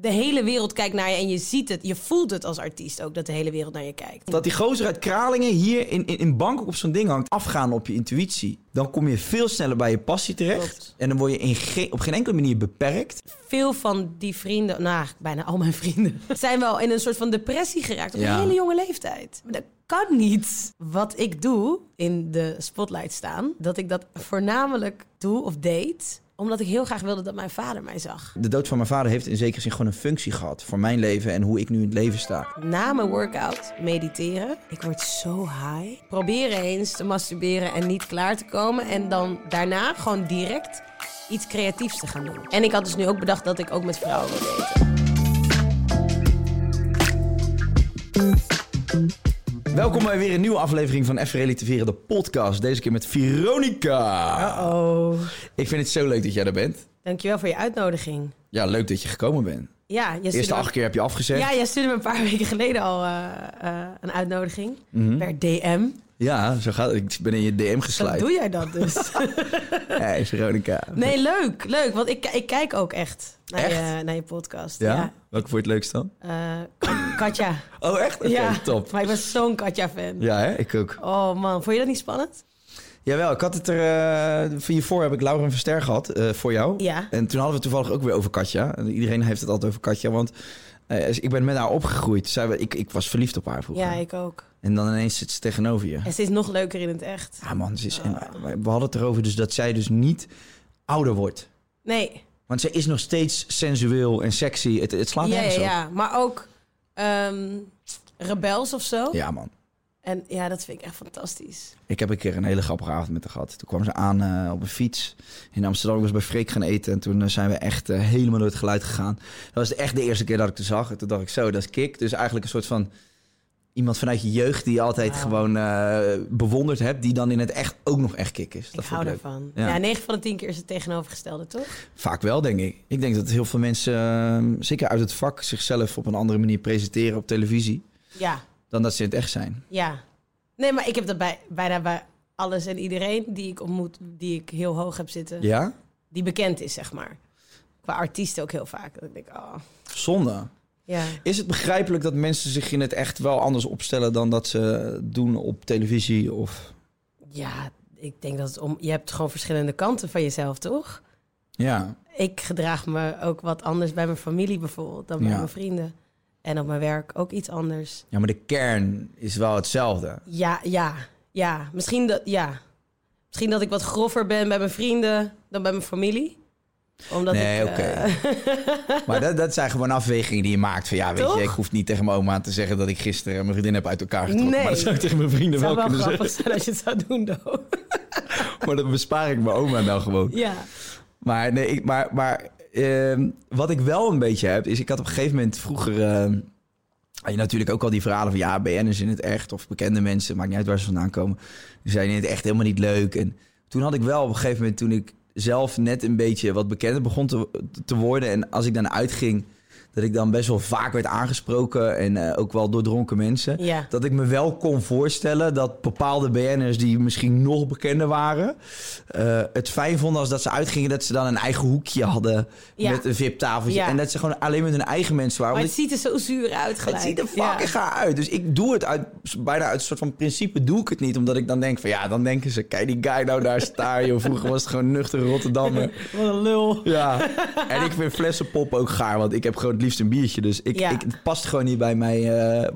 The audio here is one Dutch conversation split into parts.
de hele wereld kijkt naar je en je ziet het, je voelt het als artiest ook dat de hele wereld naar je kijkt. Dat die gozer uit Kralingen hier in, in, in Bangkok op zo'n ding hangt. Afgaan op je intuïtie. Dan kom je veel sneller bij je passie terecht. Klopt. En dan word je in geen- op geen enkele manier beperkt. Veel van die vrienden, nou eigenlijk bijna al mijn vrienden, zijn wel in een soort van depressie geraakt op Ja. een hele jonge leeftijd. Maar dat kan niet. Wat ik doe in de spotlight staan, dat ik dat voornamelijk doe of deed, omdat ik heel graag wilde dat mijn vader mij zag. De dood van mijn vader heeft in zekere zin gewoon een functie gehad. Voor mijn leven en hoe ik nu in het leven sta. Na mijn workout mediteren. Ik word zo high. Proberen eens te masturberen en niet klaar te komen. En dan daarna gewoon direct iets creatiefs te gaan doen. En ik had dus nu ook bedacht dat ik ook met vrouwen wil daten. Welkom bij weer een nieuwe aflevering van Even Relativeren, de podcast. Deze keer met Veronica. Oh. Ik vind het zo leuk dat jij er bent. Dankjewel voor je uitnodiging. Ja, leuk dat je gekomen bent. Ja, jij stuurde Eerste me- acht keer heb je afgezegd. Ja, jij stuurde me een paar weken geleden al eh, eh, een uitnodiging. Mhm. Per DM. Ja, zo gaat het. Ik ben in je DM Dan gesluit. doe jij dat dus. Hey, Veronica. nee, leuk. Leuk. Want ik, ik kijk ook echt naar, Je, Echt? naar je podcast. Ja? Welke vond je het leukst dan? Eh, Ka- Katja. Oh, echt? Oké, ja, top. Maar ik ben zo'n Katja-fan. Ja, hè? ik ook. Oh man, vond je dat niet spannend? Jawel, ik had het er... eh, van hiervoor heb ik Lauren Verster gehad, eh, voor jou. Ja. En toen hadden we het toevallig ook weer over Katja. En Iedereen heeft het altijd over Katja, want eh, ik ben met haar opgegroeid. Zij, ik, ik was verliefd op haar vroeger. Ja, ik ook. En dan ineens zit ze tegenover je. En ze is nog leuker in het echt. Ja man, ze is, en Ah. we hadden het erover dus dat zij dus niet ouder wordt. Nee, Want zij is nog steeds sensueel en sexy. Het, het slaat ja, nergens ja, op. ja. Maar ook ehm, rebels of zo. Ja, man. En ja, dat vind ik echt fantastisch. Ik heb een keer een hele grappige avond met haar gehad. Toen kwam ze aan eh, op een fiets in Amsterdam. Ik was bij Freek gaan eten en toen eh, zijn we echt eh, helemaal door het geluid gegaan. Dat was echt de eerste keer dat ik haar zag. En toen dacht ik zo, dat is kick. Dus eigenlijk een soort van iemand vanuit je jeugd die je altijd gewoon eh, bewonderd hebt. Die dan in het echt ook nog echt kick is. Dat ik vond hou ik leuk. daarvan. Ja. Ja. 9 van de 10 keer is het tegenovergestelde, toch? Vaak wel, denk ik. Ik denk dat heel veel mensen, eh, zeker uit het vak, zichzelf op een andere manier presenteren op televisie. Ja, Dan dat ze in het echt zijn. ja. Nee, maar ik heb dat bij, bijna bij alles en iedereen die ik ontmoet, die ik heel hoog heb zitten, Ja? die bekend is, zeg maar. Qua artiesten ook heel vaak. Dat ik denk, oh, Zonde. ja. Is het begrijpelijk dat mensen zich in het echt wel anders opstellen dan dat ze doen op televisie? Of... Ja, ik denk dat het om... Je hebt gewoon verschillende kanten van jezelf, toch? Ja. Ik gedraag me ook wat anders bij mijn familie bijvoorbeeld dan bij Ja. mijn vrienden. En op mijn werk ook iets anders. ja, maar de kern is wel hetzelfde. Ja, ja, ja. Misschien dat, ja. Misschien dat ik wat grover ben bij mijn vrienden dan bij mijn familie. Omdat nee, ik... oké. eh, maar dat, dat zijn gewoon afwegingen die je maakt. Van ja, weet Toch? je, ik hoef niet tegen mijn oma te zeggen dat ik gisteren mijn vriendin heb uit elkaar getrokken. Nee. Maar dat zou ik tegen mijn het vrienden wel zou wel kunnen grappig zeggen. zijn als je het zou doen, though. Maar dat bespaar ik mijn oma nou gewoon. Ja. Maar, nee, ik, maar, maar ehm, wat ik wel een beetje heb, is ik had op een gegeven moment vroeger... ehm, had je natuurlijk ook al die verhalen van ja, BN'ers in het echt of bekende mensen, maakt niet uit waar ze vandaan komen. Die zijn in het echt helemaal niet leuk. En toen had ik wel op een gegeven moment, toen ik zelf net een beetje wat bekender begon te, te worden en als ik dan uitging, dat ik dan best wel vaak werd aangesproken en eh, ook wel door dronken mensen. Ja. Dat ik me wel kon voorstellen dat bepaalde BN'ers die misschien nog bekender waren, eh, het fijn vonden als dat ze uitgingen dat ze dan een eigen hoekje hadden Ja. met een VIP-tafeltje. Ja. En dat ze gewoon alleen met hun eigen mensen waren. Maar Want het ziet er zo zuur uit het gelijk. ziet er Ja. fucking gaar uit. Dus ik doe het uit, bijna uit een soort van principe doe ik het niet. Omdat ik dan denk van ja, dan denken ze, kijk die guy nou daar staan. Joh. Vroeger was het gewoon nuchter Rotterdammer. Wat een lul. Ja, en ik vind flessenpop ook gaar. Want ik heb gewoon het liefst een biertje. Dus ik, Ja. ik, het past gewoon niet bij mijn eh,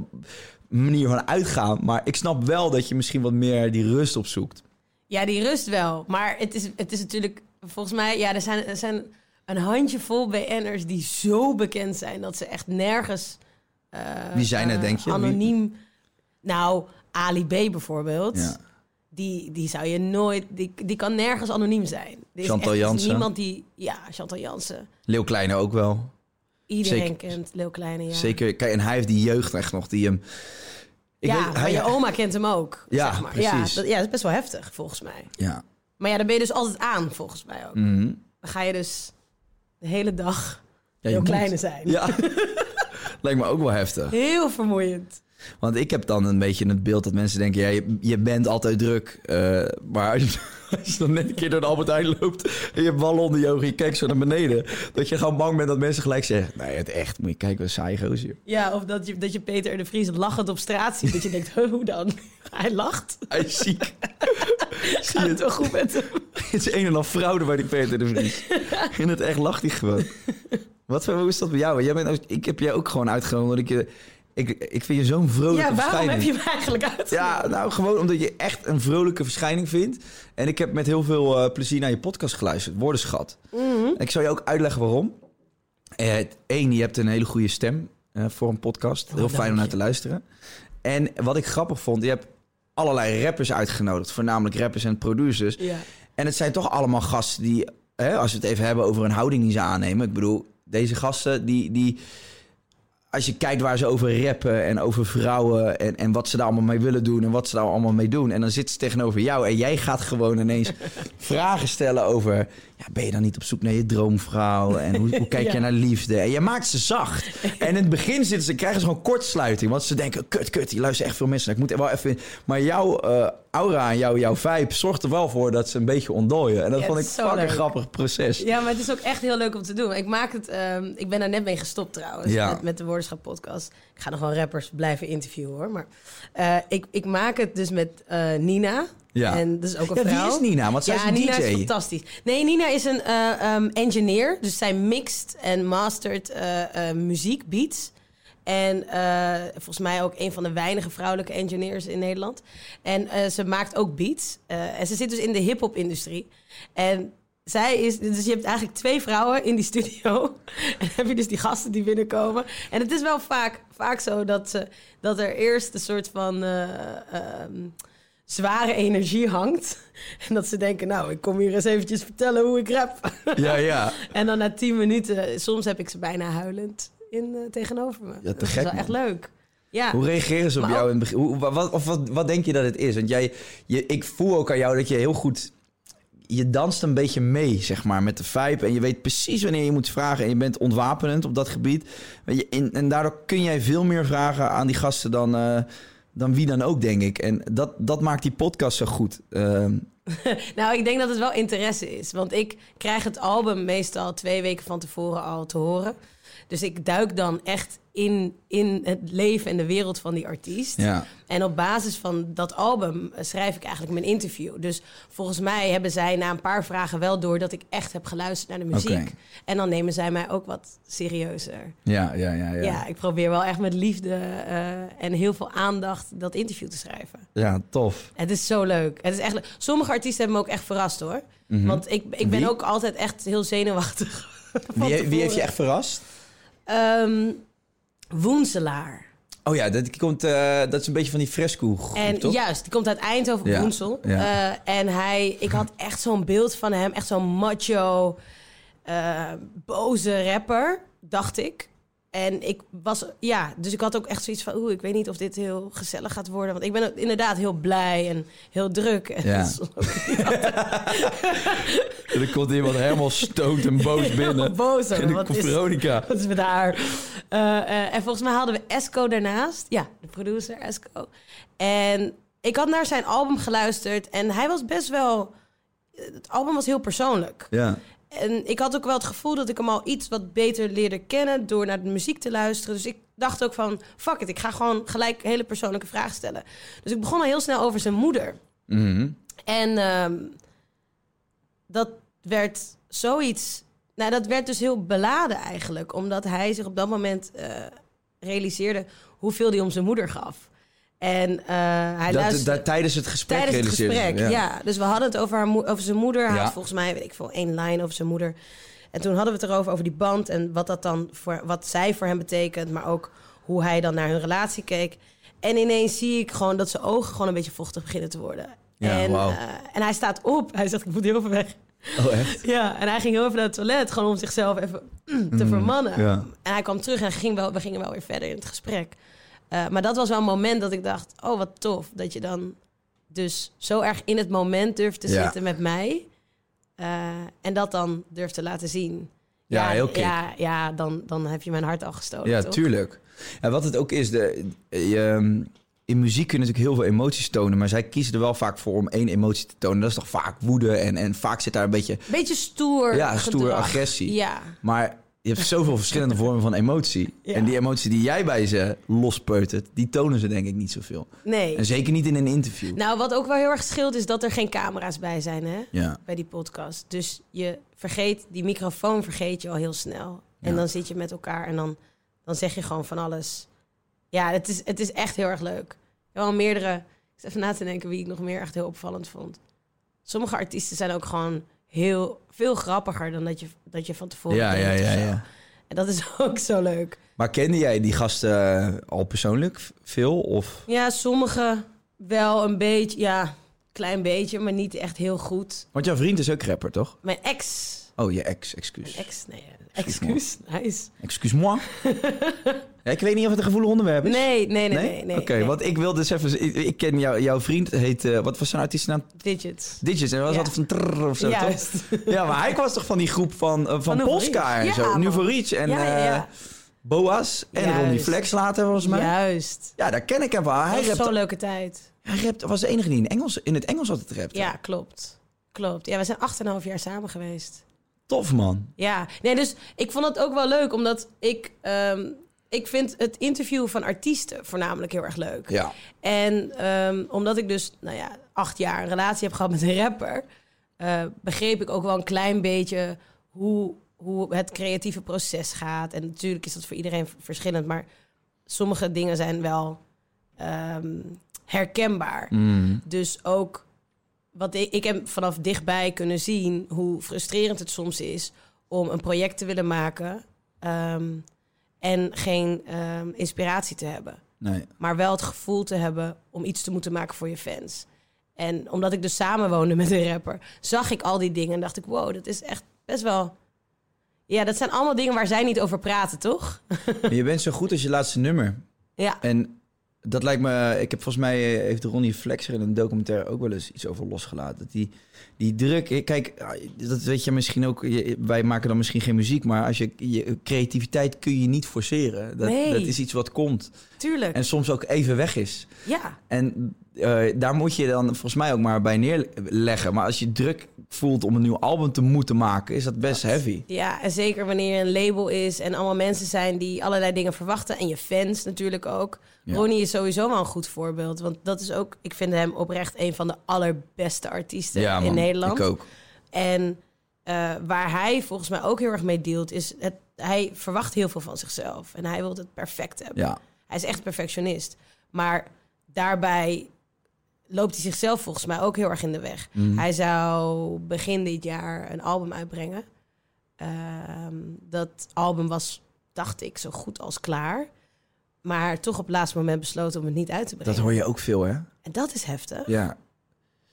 manier van uitgaan. Maar ik snap wel dat je misschien wat meer die rust opzoekt. Ja, die rust wel. Maar het is, het is natuurlijk, volgens mij, ja, er zijn, er zijn een handjevol BN'ers die zo bekend zijn dat ze echt nergens Wie zijn het, eh, denk je? Wie- anoniem. Nou, Ali B bijvoorbeeld. Ja. Die, die zou je nooit, die, die kan nergens anoniem zijn. Er is Chantal echt Jansen. Niemand die, ja, Chantal Jansen. Leeuw Kleine ook wel. Iedereen Zeker. kent Leeuw Kleine. Ja, Zeker. Kijk, en hij heeft die jeugd echt nog die hem... Ik ja weet- maar je oma kent hem ook. Ja, zeg maar. precies. Ja, dat, ja, dat is best wel heftig volgens mij. Ja. Maar ja, dan ben je dus altijd aan, volgens mij ook. Mhm. Dan ga je dus de hele dag Ja, je heel moet. kleine zijn. Ja. Lijkt me ook wel heftig. Heel vermoeiend. Want ik heb dan een beetje het beeld dat mensen denken... Ja, je, je bent altijd druk. eh, maar als je, als je dan net een keer door de Albert Heijn loopt... en je hebt wal onder je ogen, je kijkt zo naar beneden... dat je gewoon bang bent dat mensen gelijk zeggen... nee, het echt, moet je kijken, wat een saai gozer. Ja, of dat je, dat je Peter de Vries lachend op straat ziet. Dat je denkt, "Huh, hoe dan? Hij lacht. Hij is ziek. Zie je Gaat het het? wel goed met hem? Het is een en al fraude bij die Peter de Vries. In het echt lacht hij gewoon. Wat voor, hoe is dat bij jou? Jij bent, ook- ik heb jij ook gewoon uitgenodigd. omdat Ik, je- ik, ik vind je zo'n vrolijke Ja, waarom verschijning. heb je hem eigenlijk uit? Ja, nou gewoon omdat je echt een vrolijke verschijning vindt. En ik heb met heel veel eh, plezier naar je podcast geluisterd, Woordenschat. Mhm. Ik zal je ook uitleggen waarom. Eén, je hebt een hele goede stem eh, voor een podcast. Oh, Heel fijn om naar te luisteren. En wat ik grappig vond, je hebt allerlei rappers uitgenodigd. Voornamelijk rappers en producers. Ja. En het zijn toch allemaal gasten die, hè, als we het even hebben over een houding die ze aannemen. Ik bedoel, deze gasten die, die als je kijkt waar ze over rappen en over vrouwen en, en wat ze daar allemaal mee willen doen en wat ze daar allemaal mee doen. En dan zitten ze tegenover jou en jij gaat gewoon ineens vragen stellen over, ja, ben je dan niet op zoek naar je droomvrouw en hoe, hoe kijk je Ja. naar liefde? En je maakt ze zacht. En in het begin zitten ze, krijgen ze gewoon kortsluiting, want ze denken, kut, kut, die luisteren echt veel mensen. naar. Ik moet er wel even, maar jouw eh, aura en jouw, jouw vibe zorgt er wel voor dat ze een beetje ontdooien. En dat Ja, vond ik het is zo fucking een leuk. grappig proces. Ja, maar het is ook echt heel leuk om te doen. Ik maak het, ehm, ik ben daar net mee gestopt trouwens, Ja. met, met de Woordenschap podcast. Ik ga nog wel rappers blijven interviewen hoor, maar eh, ik, ik maak het dus met eh, Nina. Ja. En dat is ook een Ja, wie vrouw. is Nina? Want zij is ja, een Nina DJ. is fantastisch. Nee, Nina is een eh, ehm, engineer, dus zij mixt en mastert eh, eh, muziek, beats. En eh, volgens mij ook een van de weinige vrouwelijke engineers in Nederland. En eh, ze maakt ook beats. Eh, en ze zit dus in de hip-hop industrie. En zij is. Dus je hebt eigenlijk twee vrouwen in die studio. En dan heb je dus die gasten die binnenkomen. En het is wel vaak, vaak zo dat, ze, dat er eerst een soort van. eh, ehm, zware energie hangt. En dat ze denken, nou, ik kom hier eens eventjes vertellen hoe ik rap. Ja, ja. En dan na tien minuten, soms heb ik ze bijna huilend in, eh, tegenover me. te dat gek, is wel man. echt leuk. Ja. Hoe reageren ze op Maar jou in het begin? Hoe, wa- wat, of wat, wat denk je dat het is? Want jij, je, ik voel ook aan jou dat je heel goed... Je danst een beetje mee, zeg maar, met de vibe. En je weet precies wanneer je moet vragen. En je bent ontwapenend op dat gebied. Weet je, en, en daardoor kun jij veel meer vragen aan die gasten dan, eh, dan wie dan ook, denk ik. En dat, dat maakt die podcast zo goed. Ehm, Nou, ik denk dat het wel interesse is. Want ik krijg het album meestal twee weken van tevoren al te horen. Dus ik duik dan echt in, in het leven en de wereld van die artiest. Ja. En op basis van dat album eh, schrijf ik eigenlijk mijn interview. Dus volgens mij hebben zij na een paar vragen wel door dat ik echt heb geluisterd naar de muziek. Oké. En dan nemen zij mij ook wat serieuzer. ja, ja, ja, ja. Ja, ik probeer wel echt met liefde eh, en heel veel aandacht dat interview te schrijven. Ja, tof. Het is zo leuk. Het is echt leuk. Sommige artiesten hebben me ook echt verrast hoor. Want ik, ik ben Mhm. Wie? ook altijd echt heel zenuwachtig. van Wie, wie heeft je tevoren. echt verrast? Ehm, Woenselaar. Oh ja, dat, komt, eh, dat is een beetje van die fresco groep, En toch? juist, die komt uit Eindhoven, Ja, Woensel. ja. Eh, en hij, ik had echt zo'n beeld van hem. Echt zo'n macho, eh, boze rapper, dacht ik. En ik was, ja, dus ik had ook echt zoiets van, oeh, ik weet niet of dit heel gezellig gaat worden. Want ik ben ook inderdaad heel blij en heel druk. En Ja. dat is ook En dan komt iemand helemaal stoned en boos binnen. boos. En over, dan Wat komt is, Veronica. wat is met haar? Eh, eh, en volgens mij hadden we Esco daarnaast. Ja, de producer Esco. En ik had naar zijn album geluisterd. En hij was best wel... Het album was heel persoonlijk. Ja. En ik had ook wel het gevoel dat ik hem al iets wat beter leerde kennen door naar de muziek te luisteren. Dus ik dacht ook van, fuck it, ik ga gewoon gelijk hele persoonlijke vragen stellen. Dus ik begon al heel snel over zijn moeder. Mhm. En ehm, dat werd zoiets. Nou, dat werd dus heel beladen eigenlijk, omdat hij zich op dat moment eh, realiseerde hoeveel hij om zijn moeder gaf. En eh, hij dat, luisterde dat, tijdens het gesprek tijdens het realiseerde ze, gesprek. Ja. dus we hadden het over, haar moe- over zijn moeder. Hij Ja. had volgens mij, weet ik veel, één line over zijn moeder. En toen hadden we het erover, over die band en wat dat dan voor, wat zij voor hem betekent, maar ook hoe hij dan naar hun relatie keek. En ineens zie ik gewoon dat zijn ogen gewoon een beetje vochtig beginnen te worden. Ja, en, wauw. eh, en hij staat op. Hij zegt, ik moet heel even weg. Oh, echt? Ja, en hij ging heel even naar het toilet, gewoon om zichzelf even mm, te vermannen. ja. En hij kwam terug en ging wel, we gingen wel weer verder in het gesprek. Eh, maar dat was wel een moment dat ik dacht, oh wat tof, dat je dan dus zo erg in het moment durft te Ja. zitten met mij. eh, en dat dan durft te laten zien. Ja, heel kick. Ja, ja dan, dan heb je mijn hart al gestolen, Ja, toch? tuurlijk. En wat het ook is, de, je- ehm, in muziek kun je natuurlijk heel veel emoties tonen, maar zij kiezen er wel vaak voor om één emotie te tonen. Dat is toch vaak woede en, en vaak zit daar een beetje... Beetje stoer Ja, stoere gedrag. agressie. Ja, Maar je hebt zoveel verschillende vormen van emotie. Ja. En die emotie die jij bij ze lospeutert, die tonen ze denk ik niet zoveel. nee. En zeker niet in een interview. Nou, wat ook wel heel erg scheelt is dat er geen camera's bij zijn, hè? Ja. bij die podcast. Dus je vergeet, die microfoon vergeet je al heel snel. En Ja. dan zit je met elkaar en dan, dan zeg je gewoon van alles. Ja, het is, het is echt heel erg leuk. Wel meerdere, ik zit even na te denken wie ik nog meer echt heel opvallend vond. Sommige artiesten zijn ook gewoon heel veel grappiger dan dat je, dat je van tevoren Ja, ja, denkt of ja, zo. ja. En dat is ook zo leuk. Maar kende jij die gasten eh, al persoonlijk v- veel? Of... Ja, sommige wel een beetje, ja, klein beetje, maar niet echt heel goed. Want jouw vriend is ook rapper, toch? Mijn ex, Oh, je ex, excuus. ex, nee, excuus, nice. Excuse-moi. Ja, ik weet niet of het een gevoelig onderwerp is. Nee, nee, nee, nee. nee Oké, nee. want ik wil dus even... Ik, ik ken jou, jouw vriend, heet... eh, wat was zijn artiestennaam? Digits. Digits. En hij was Ja. altijd van... trrr of zo, toch? Juist. Ja, maar hij was toch van die groep van, eh, van, Van Nouveau Polska en Riche. Ja, zo. man. Nouveau Riche en ja, ja, ja. eh, Boas en Juist. Ronnie Flex later, volgens mij. Ja. Juist. daar ken ik hem van. Hij Dat was rapt, zo'n leuke tijd. hij rapt- was de enige die in, Engels, in het Engels altijd rapte. Ja, klopt. Klopt. Ja, we zijn 8,5 jaar samen geweest. Tof, man. Ja. Nee, dus ik vond het ook wel leuk, omdat ik... ehm, ik vind het interview van artiesten voornamelijk heel erg leuk. Ja. En ehm, omdat ik dus, nou ja, acht jaar een relatie heb gehad met een rapper, eh, begreep ik ook wel een klein beetje hoe, hoe het creatieve proces gaat. En natuurlijk is dat voor iedereen v- verschillend, maar sommige dingen zijn wel ehm, herkenbaar. Dus ook wat ik, ik heb vanaf dichtbij kunnen zien hoe frustrerend het soms is om een project te willen maken ehm, en geen ehm, inspiratie te hebben Nee. maar wel het gevoel te hebben om iets te moeten maken voor je fans. En omdat ik dus samenwoonde met een rapper, zag ik al die dingen en dacht ik, wow, dat is echt best wel. Ja, dat zijn allemaal dingen waar zij niet over praten, toch? Je bent zo goed als je laatste nummer. Ja, En dat lijkt me... Ik heb volgens mij... eh, Heeft Ronnie Flex er in een documentaire ook wel eens iets over losgelaten. Dat Die, die druk... eh, Kijk, ah, dat weet je misschien ook... je- Wij maken dan misschien geen muziek, maar als je, je creativiteit kun je niet forceren. Dat, Nee. dat is iets wat komt. tuurlijk. En soms ook even weg is. Ja, En eh, daar moet je dan volgens mij ook maar bij neerleggen. Maar als je druk voelt om een nieuw album te moeten maken, is dat best heavy. ja, en zeker wanneer een label is en allemaal mensen zijn die allerlei dingen verwachten. En je fans natuurlijk ook. Ja. Ronnie is sowieso wel een goed voorbeeld. Want dat is ook, ik vind hem oprecht een van de allerbeste artiesten in Nederland. Ik ook. En eh, waar hij volgens mij ook heel erg mee dealt, is het, hij verwacht heel veel van zichzelf. En hij wil het perfect hebben. Ja. Hij is echt perfectionist. Maar daarbij loopt hij zichzelf volgens mij ook heel erg in de weg. Mhm. Hij zou begin dit jaar een album uitbrengen. Ehm, dat album was, dacht ik, zo goed als klaar. Maar toch op het laatste moment besloten om het niet uit te brengen. Dat hoor je ook veel, hè? En dat is heftig. Ja.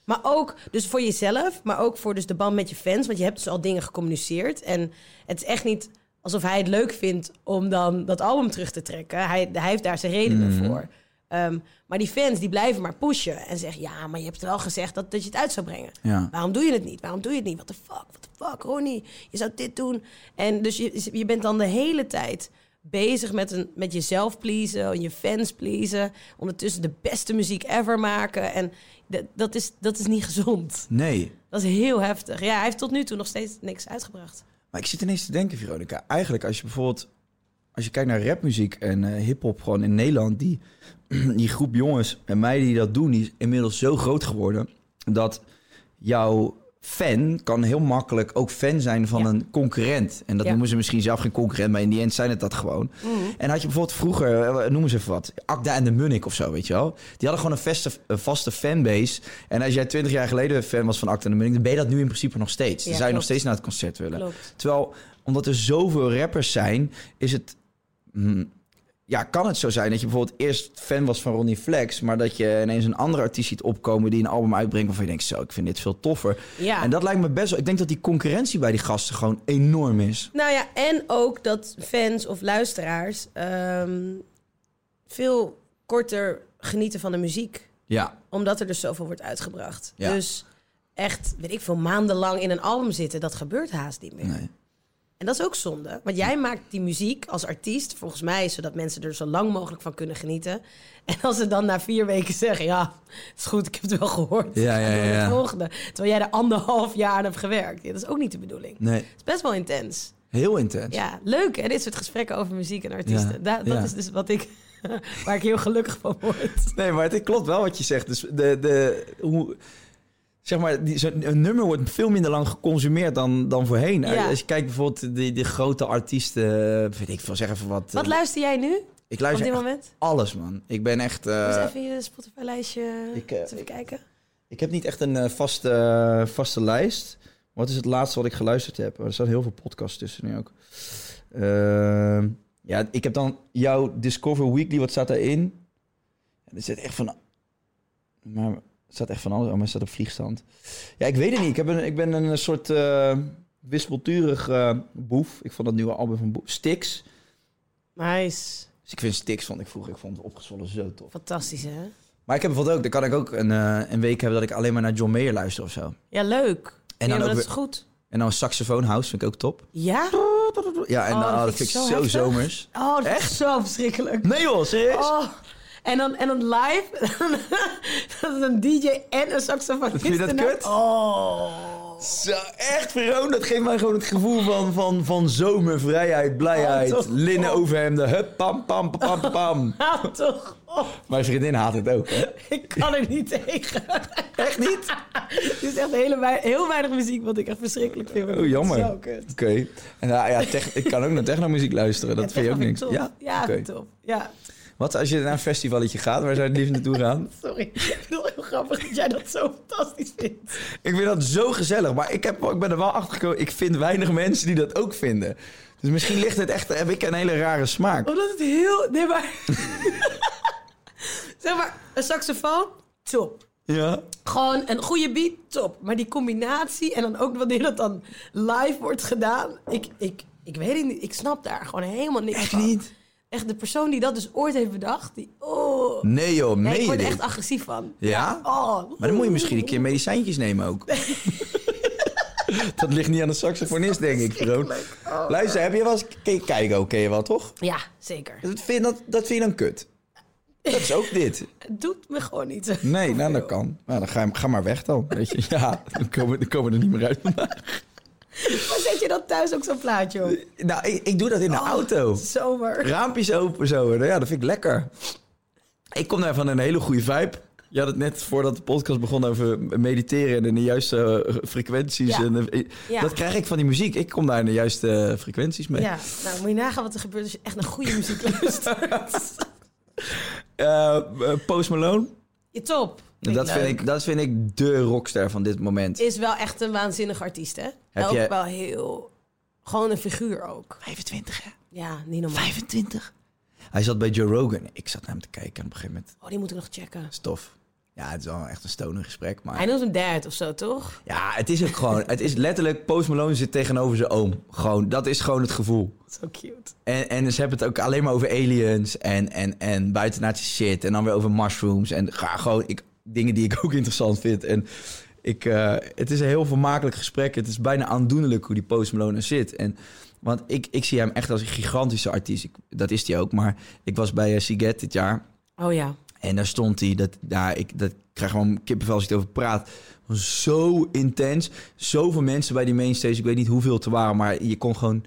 Maar ook dus voor jezelf, maar ook voor dus de band met je fans. Want je hebt dus al dingen gecommuniceerd. En het is echt niet alsof hij het leuk vindt om dan dat album terug te trekken. Hij, hij heeft daar zijn redenen voor. Ehm, maar die fans die blijven maar pushen en zeggen: Ja, maar je hebt wel gezegd dat, dat je het uit zou brengen. Ja. Waarom doe je het niet? Waarom doe je het niet? What the fuck? What the fuck, Ronnie? Je zou dit doen. En dus je, je bent dan de hele tijd bezig met, een, met jezelf pleasen, je fans pleasen. Ondertussen de beste muziek ever maken. En dat, dat, is, dat is niet gezond. Nee. Dat is heel heftig. Ja, hij heeft tot nu toe nog steeds niks uitgebracht. Maar ik zit ineens te denken, Veronica. Eigenlijk als je bijvoorbeeld... Als je kijkt naar rapmuziek en eh, hiphop gewoon in Nederland... Die, die groep jongens en meiden die dat doen... die is inmiddels zo groot geworden... dat jouw fan kan heel makkelijk ook fan zijn van Ja. een concurrent. En dat Ja. Mhm. noemen ze misschien zelf geen concurrent... maar in die end zijn het dat gewoon. En had je bijvoorbeeld vroeger, eh, noem eens even wat... Akda en de Munnik of zo, weet je wel? Die hadden gewoon een vaste, een vaste fanbase. En als jij twintig jaar geleden fan was van Akda en de Munnik... dan ben je dat nu in principe nog steeds. Ja, dan zou je klopt. nog steeds naar het concert willen. Klopt. Terwijl, omdat er zoveel rappers zijn, is het. hmm, ja, kan het zo zijn dat je bijvoorbeeld eerst fan was van Ronnie Flex, maar dat je ineens een andere artiest ziet opkomen die een album uitbrengt waarvan je denkt, zo, ik vind dit veel toffer. Ja. En dat lijkt me best wel. Ik denk dat die concurrentie bij die gasten gewoon enorm is. Nou ja, en ook dat fans of luisteraars ehm, veel korter genieten van de muziek. Ja. Omdat er dus zoveel wordt uitgebracht. Ja. Dus echt, weet ik veel, maandenlang in een album zitten, dat gebeurt haast niet meer. Nee. En dat is ook zonde. Want jij maakt die muziek als artiest, volgens mij, zodat mensen er zo lang mogelijk van kunnen genieten. En als ze dan na vier weken zeggen, ja, is goed, ik heb het wel gehoord. Ja, ja, Ik ga door ja, naar ja. Het volgende. Terwijl jij er anderhalf jaar aan hebt gewerkt. Ja, dat is ook niet de bedoeling. Nee. Het is best wel intens. Heel intens. Ja, leuk hè, dit soort gesprekken over muziek en artiesten. Ja, Da- dat ja. is dus wat ik, waar ik heel gelukkig van word. Nee, maar het klopt wel wat je zegt. Dus de, de, hoe, zeg maar, die, zo'n- een nummer wordt veel minder lang geconsumeerd dan, dan voorheen. Ja. Als je kijkt bijvoorbeeld die, die grote artiesten, weet ik veel, zeg even wat. Wat eh, luister jij nu ik op dit luister echt eh, moment? alles, man. Ik ben echt... eh, Moet even je Spotify-lijstje ik, eh, eens even kijken. ik heb niet echt een eh, vaste, eh, vaste lijst. Wat is het laatste wat ik geluisterd heb? Er staan heel veel podcasts tussen nu ook. Ehm, ja, ik heb dan jouw Discover Weekly. Wat staat daarin? En er zit echt van... Maar er staat echt van alles. Oh, maar het staat op vliegstand. Ja, ik weet het niet. Ik, heb een, ik ben een soort eh wispelturig eh, boef. Ik vond dat nieuwe album van Boef. Stix. Nice. Dus ik vind Stix, vond ik vroeger, ik vond het opgezwollen zo tof. Fantastisch hè? Maar ik heb bijvoorbeeld ook, dan kan ik ook een, eh, een week hebben dat ik alleen maar naar John Mayer luister of zo. Ja, leuk. dan En ja, maar ook dat weer- is goed. En dan een saxofoon house vind ik ook top. Ja? Ja, en Oh, dan, oh, dat vind ik zo, heftig. zomers. Oh, dat Echt? is zo verschrikkelijk. Nee joh, serieus? Oh. En dan, en dan live, dat is een DJ en een saxofonist. Vind je dat ernaar. kut? nou- Oh. Zo, echt Veroon, dat geeft mij gewoon het gevoel van, van, van zomer, vrijheid, blijheid, Oh, toch? linnen overhemden, hup, pam, pam, pam, pam, pam. Haal toch op. Mijn vriendin haat het ook, hè? Ik kan er niet tegen. Echt niet? Er is echt hele wei- heel weinig muziek wat ik echt verschrikkelijk vind. Oh, jammer. Zo Oké. kut. En nou, ja, tech- ik kan ook naar technomuziek luisteren, dat Ja, vind je ook vind ik niks. top. Ja, ja Oké. top. Ja, Wat als je naar een festivaletje gaat, waar zou je het liefst naartoe gaan? sorry. Ik vind het heel grappig dat jij dat zo fantastisch vindt. Ik vind dat zo gezellig, maar ik, heb, ik ben er wel achter gekomen. Ik vind weinig mensen die dat ook vinden. Dus misschien ligt het echt, heb ik een hele rare smaak. Omdat het heel... Nee, maar... zeg maar, een saxofoon, top. Ja. Gewoon een goede beat, top. Maar die combinatie en dan ook wanneer dat dan live wordt gedaan... Ik, ik, ik weet het niet. Ik snap daar gewoon helemaal niks Echt van. niet? Echt de persoon die dat dus ooit heeft bedacht, die... Oh. Nee joh, Ja, meen ik je word er dit? echt agressief van. Ja? Oh. Maar dan moet je misschien een keer medicijntjes nemen ook. dat ligt niet aan de saxofonist, denk ik, Jeroen. Oh. Luister, heb je wel eens... Kijk, kijk ook, ken je wel, toch? Ja, zeker. Dat vind, dat, dat vind je dan kut. Dat is ook dit. Het doet me gewoon niet. Nee, nou, dat kan. Nou, dan ga, je- ga maar weg dan, weet je. Ja, dan komen, dan komen we er niet meer uit vandaag. Maar zet je dat thuis ook zo'n plaatje op? Nou, ik, ik doe dat Oh. in de auto. Zomer. Raampjes open zo. Nou ja, dat vind ik lekker. Ik kom daar van een hele goede vibe. Je had het net voordat de podcast begon over mediteren en in de juiste eh, frequenties. Ja. En, eh, Ja. Dat krijg ik van die muziek. Ik kom daar in de juiste eh, frequenties mee. Ja, nou moet je nagaan wat er gebeurt als je echt naar goede muziek luistert. Eh, eh, Post Malone, Je top. dat vind, leuk. ik, dat vind ik de rockster van dit moment. Is wel echt een waanzinnig artiest, hè? Heb ook jij- wel heel... Gewoon een figuur ook. 25 hè? Ja, niet normaal. 25. Hij zat bij Joe Rogan. Ik zat naar hem te kijken en op een gegeven moment Oh, die moet ik nog checken. stof. Ja, het is wel echt een stoner gesprek. Maar Hij noemt hem dad of zo, toch? ja, het is ook gewoon... Het is letterlijk... Post Malone zit tegenover zijn oom. Gewoon, dat is gewoon het gevoel. Zo cute. En, en ze hebben het ook alleen maar over aliens en, en, en buitenaardse shit. En dan weer over mushrooms. En ga gewoon ik, dingen die ik ook interessant vind. En ik, eh, het is een heel vermakelijk gesprek. Het is bijna aandoenlijk hoe die Post Malone er zit. En, want ik, ik zie hem echt als een gigantische artiest. Ik- dat is hij ook. Maar ik was bij eh, Siget dit jaar. Oh ja. En daar stond hij, dat, ja, ik, dat ik krijg gewoon kippenvel als ik erover praat. Zo intens. Zoveel mensen bij die mainstage. Ik weet niet hoeveel het er waren, maar je kon gewoon...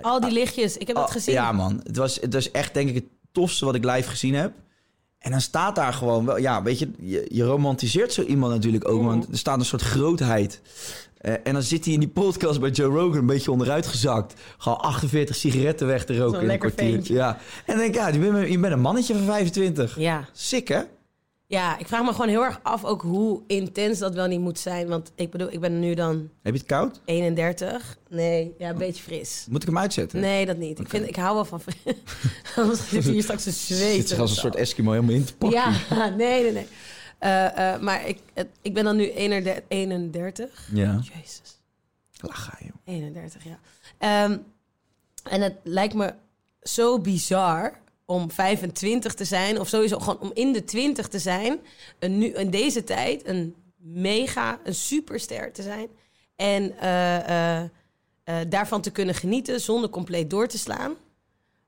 Al die lichtjes, ik heb het Oh, gezien. Ja, man. Het was, het was echt, denk ik, het tofste wat ik live gezien heb. En dan staat daar gewoon wel, ja, weet je, je, je romantiseert zo iemand natuurlijk Mm. ook, want er staat een soort grootheid. Eh, en dan zit hij in die podcast bij Joe Rogan een beetje onderuitgezakt. Gewoon 48 sigaretten weg te roken Zo'n in een lekker kwartier. ventje. Ja. En dan denk ik, ja, je bent, je bent een mannetje van 25. Ja. Sick, hè? ja, ik vraag me gewoon heel erg af ook hoe intens dat wel niet moet zijn. Want ik bedoel, ik ben nu dan Heb je het koud? 31. Nee, ja, een beetje fris. Moet ik hem uitzetten? Nee, dat niet. Ik, vind, ik hou wel van fris. Anders zit hier straks een zweet. Zit zich als een of zo. soort Eskimo helemaal in te pakken. Ja, nee, nee, nee. Eh, eh, maar ik, het- ik ben dan nu 31. 31. Ja. Jezus. Lacha, joh. 31, ja. Ehm, en het lijkt me zo bizar om 25 te zijn, of sowieso gewoon om in de 20 te zijn, en nu, in deze tijd een mega, een superster te zijn. En eh, eh, eh, daarvan te kunnen genieten zonder compleet door te slaan.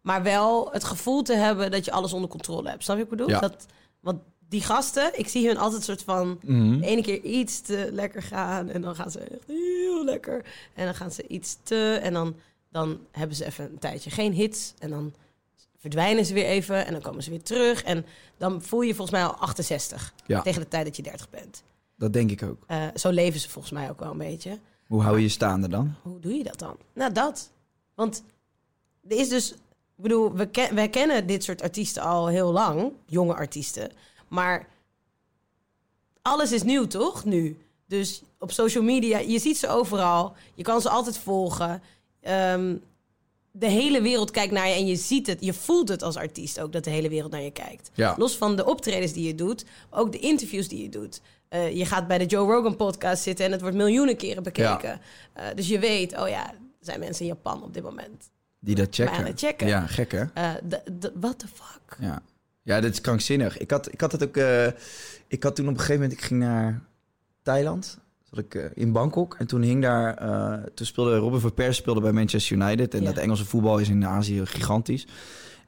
Maar wel het gevoel te hebben dat je alles onder controle hebt. Snap je wat ik bedoel? Ja. Dat, want die gasten, ik zie hun altijd soort van... Mhm. de ene keer iets te lekker gaan en dan gaan ze echt heel lekker. En dan gaan ze iets te... En dan, dan hebben ze even een tijdje geen hits. En dan verdwijnen ze weer even en dan komen ze weer terug. En dan voel je volgens mij al 68 Ja. tegen de tijd dat je 30 bent. Dat denk ik ook. Eh, zo leven ze volgens mij ook wel een beetje. Hoe hou je je staande dan? Hoe doe je dat dan? Nou, dat. Want er is dus... Ik bedoel, we ken- wij kennen dit soort artiesten al heel lang. Jonge artiesten. Maar alles is nieuw, toch? Nu. Dus op social media, je ziet ze overal. Je kan ze altijd volgen. Ehm, de hele wereld kijkt naar je en je ziet het. Je voelt het als artiest ook dat de hele wereld naar je kijkt. Ja. Los van de optredens die je doet, ook de interviews die je doet. Eh, je gaat bij de Joe Rogan podcast zitten en het wordt miljoenen keren bekeken. Eh, dus je weet, oh ja, er zijn mensen in Japan op dit moment. Die dat checken. aan het checken. Ja, gek hè? Eh de- de- what the fuck? Ja. ja, dat is krankzinnig. Ik had, ik had het ook. eh, ik had toen op een gegeven moment. Ik ging naar Thailand. Zat ik eh, in Bangkok. En toen hing daar. eh, toen speelde Robin van Persie speelde bij Manchester United. En Ja. dat Engelse voetbal is in Azië gigantisch.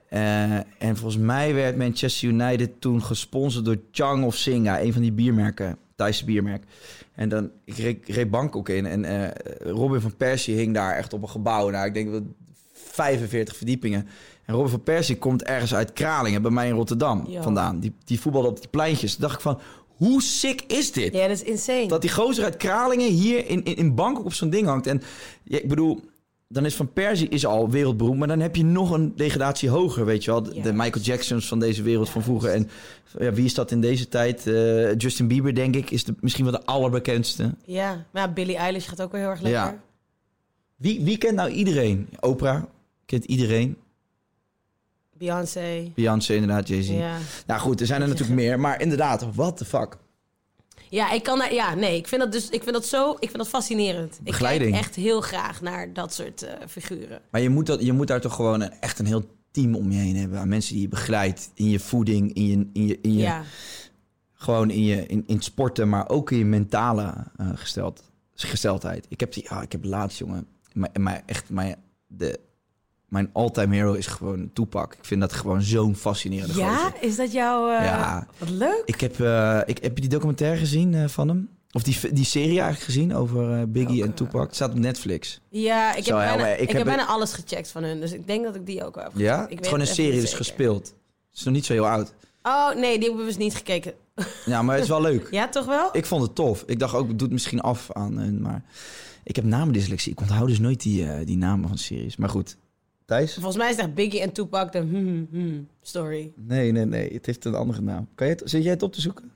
Eh, en volgens mij werd Manchester United toen gesponsord door Chang of Singa, een van die biermerken, Thaise biermerk. En dan, ik reed, reed Bangkok in en eh, Robin van Persie hing daar echt op een gebouw. Nou, ik denk dat 45 verdiepingen. En Robin van Persie komt ergens uit Kralingen, bij mij in Rotterdam Ja. vandaan. Die, die voetbalde op die pleintjes. Toen dacht ik van, hoe sick is dit? Ja, dat is insane. Dat die gozer uit Kralingen hier in, in, in Bangkok op zo'n ding hangt. En ja, ik bedoel, dan is Van Persie is al wereldberoemd. Maar dan heb je nog een degradatie hoger, weet je wel. De, Ja. de Michael Jacksons van deze wereld van vroeger. En ja, wie is dat in deze tijd? Eh, Justin Bieber, denk ik, is de, misschien wel de allerbekendste. Ja, maar ja, Billie Eilish gaat ook wel heel erg lekker. Ja. Wie, wie kent nou iedereen? Oprah kent iedereen. Beyoncé. Beyoncé inderdaad, Jay-Z. Ja. Nou goed, er zijn er natuurlijk meer. Maar inderdaad, what the fuck. Ja, ik kan daar, ja, nee, ik vind dat dus, ik vind dat zo, ik vind dat fascinerend. Begeleiding. Ik kijk echt heel graag naar dat soort eh, figuren. Maar je moet, dat, je moet daar toch gewoon een, echt een heel team om je heen hebben. Aan mensen die je begeleidt in je voeding, in je, in je, in je, Ja. gewoon in je in, in het sporten, maar ook in je mentale eh, gesteld, gesteldheid. Ik heb die, ah, ik heb laatst jongen, mijn, mijn echt mijn de mijn all-time hero is gewoon Toepak. Ik vind dat gewoon zo'n fascinerende gozer. Ja, is dat jouw... eh, Ja. Wat leuk. Ik heb, eh, ik heb je die documentaire gezien eh, van hem. Of die, die serie eigenlijk gezien over eh, Biggie en Tupac. Het staat op Netflix. Ja, ik Zo, heb, ja, bijna, maar ik ik heb heb, het- bijna alles gecheckt van hun, dus ik denk dat ik die ook wel heb gezien. Ja? Ik Het weet is gewoon een het echt serie niet dus zeker. gespeeld. Het is nog niet zo heel oud. Oh, nee, die hebben we dus niet gekeken. Ja, maar het is wel leuk. Ja, toch wel? Ik vond het tof. Ik dacht ook, het doet misschien af aan hun, maar... Ik heb namendyslexie. Ik onthoud dus nooit die, eh, die namen van series. Maar goed. Thijs? Volgens mij is het echt Biggie en Tupac de hmm, hmm story. Nee, nee, nee. Het heeft een andere naam. Kan je het, zit jij het op te zoeken?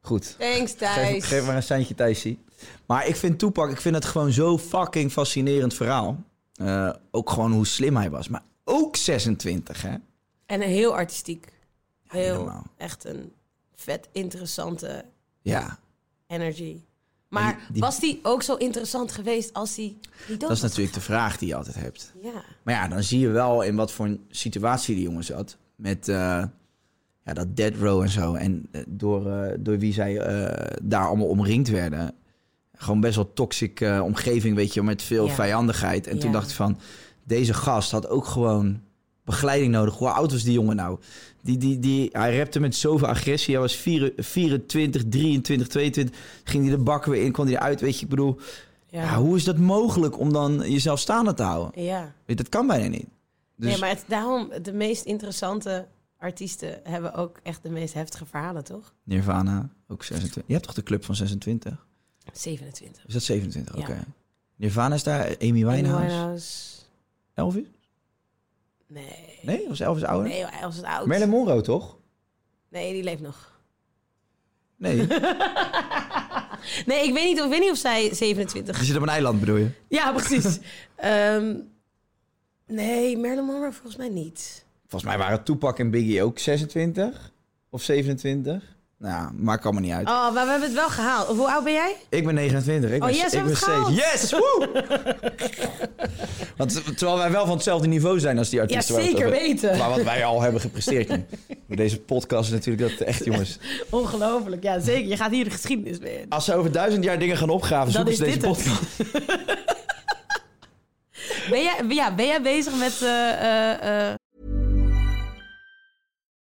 Goed. Thanks, Geef, Thijs. geef maar een seintje, Thijsie. Maar ik vind Toepak, ik vind het gewoon zo fucking fascinerend verhaal. Eh, ook gewoon hoe slim hij was. Maar ook 26, hè? En heel artistiek. Heel, helemaal. echt een vet interessante Ja, energy. Maar die- die- was die ook zo interessant geweest als die niet dood dat was is natuurlijk de vraag die je altijd hebt. gegaan? Ja. Maar ja, dan zie je wel in wat voor een situatie die jongen zat. Met eh, ja, dat dead row en zo. En eh, door, eh, door wie zij eh, daar allemaal omringd werden. Gewoon best wel toxic eh, omgeving, weet je, met veel Ja. vijandigheid. En toen Ja. dacht ik van, deze gast had ook gewoon begeleiding nodig. Hoe oud was die jongen nou? Die, die, die, hij repte met zoveel agressie. Hij was 4 24, 23, 22. Ging hij de bak weer in, kon hij eruit, weet je. Ik bedoel, Ja. ja, hoe is dat mogelijk om dan jezelf staande te houden? ja. Weet, dat kan bijna niet. Dus, Nee, maar het, daarom, de meest interessante artiesten hebben ook echt de meest heftige verhalen, toch? Nirvana, ook 26. Je hebt toch de club van 26? 27. Is dat 27? Ja. Oké. Nirvana is daar, Amy Winehouse. Winehouse. Elvis? Nee. Nee, was Elvis ouder? Nee, hij was het oud. Marilyn Monroe, toch? Nee, die leeft nog. Nee, die Nee, ik weet niet, ik weet niet of zij 27... zit op een eiland bedoel je? Ja, precies. Ehm, nee, Marilyn Monroe volgens mij niet. Volgens mij waren Tupac en Biggie ook 26 of 27. Nou, ja, maakt allemaal niet uit. Oh, maar we hebben het wel gehaald. Hoe oud ben jij? Ik ben 29. Ik Oh, ben, yes, we ik hebben ben het gehaald. Yes! Woe! Want terwijl wij wel van hetzelfde niveau zijn als die artiesten. waar we het zeker over- weten. Maar wat wij al hebben gepresteerd nu. Met Deze podcast is natuurlijk dat echt, jongens. Ongelooflijk, ja zeker. Je gaat hier de geschiedenis mee in. Als ze over duizend jaar dingen gaan opgraven, Dan zoeken ze is deze dit het. podcast. Ben jij, ja, ben jij bezig met... eh, eh, eh,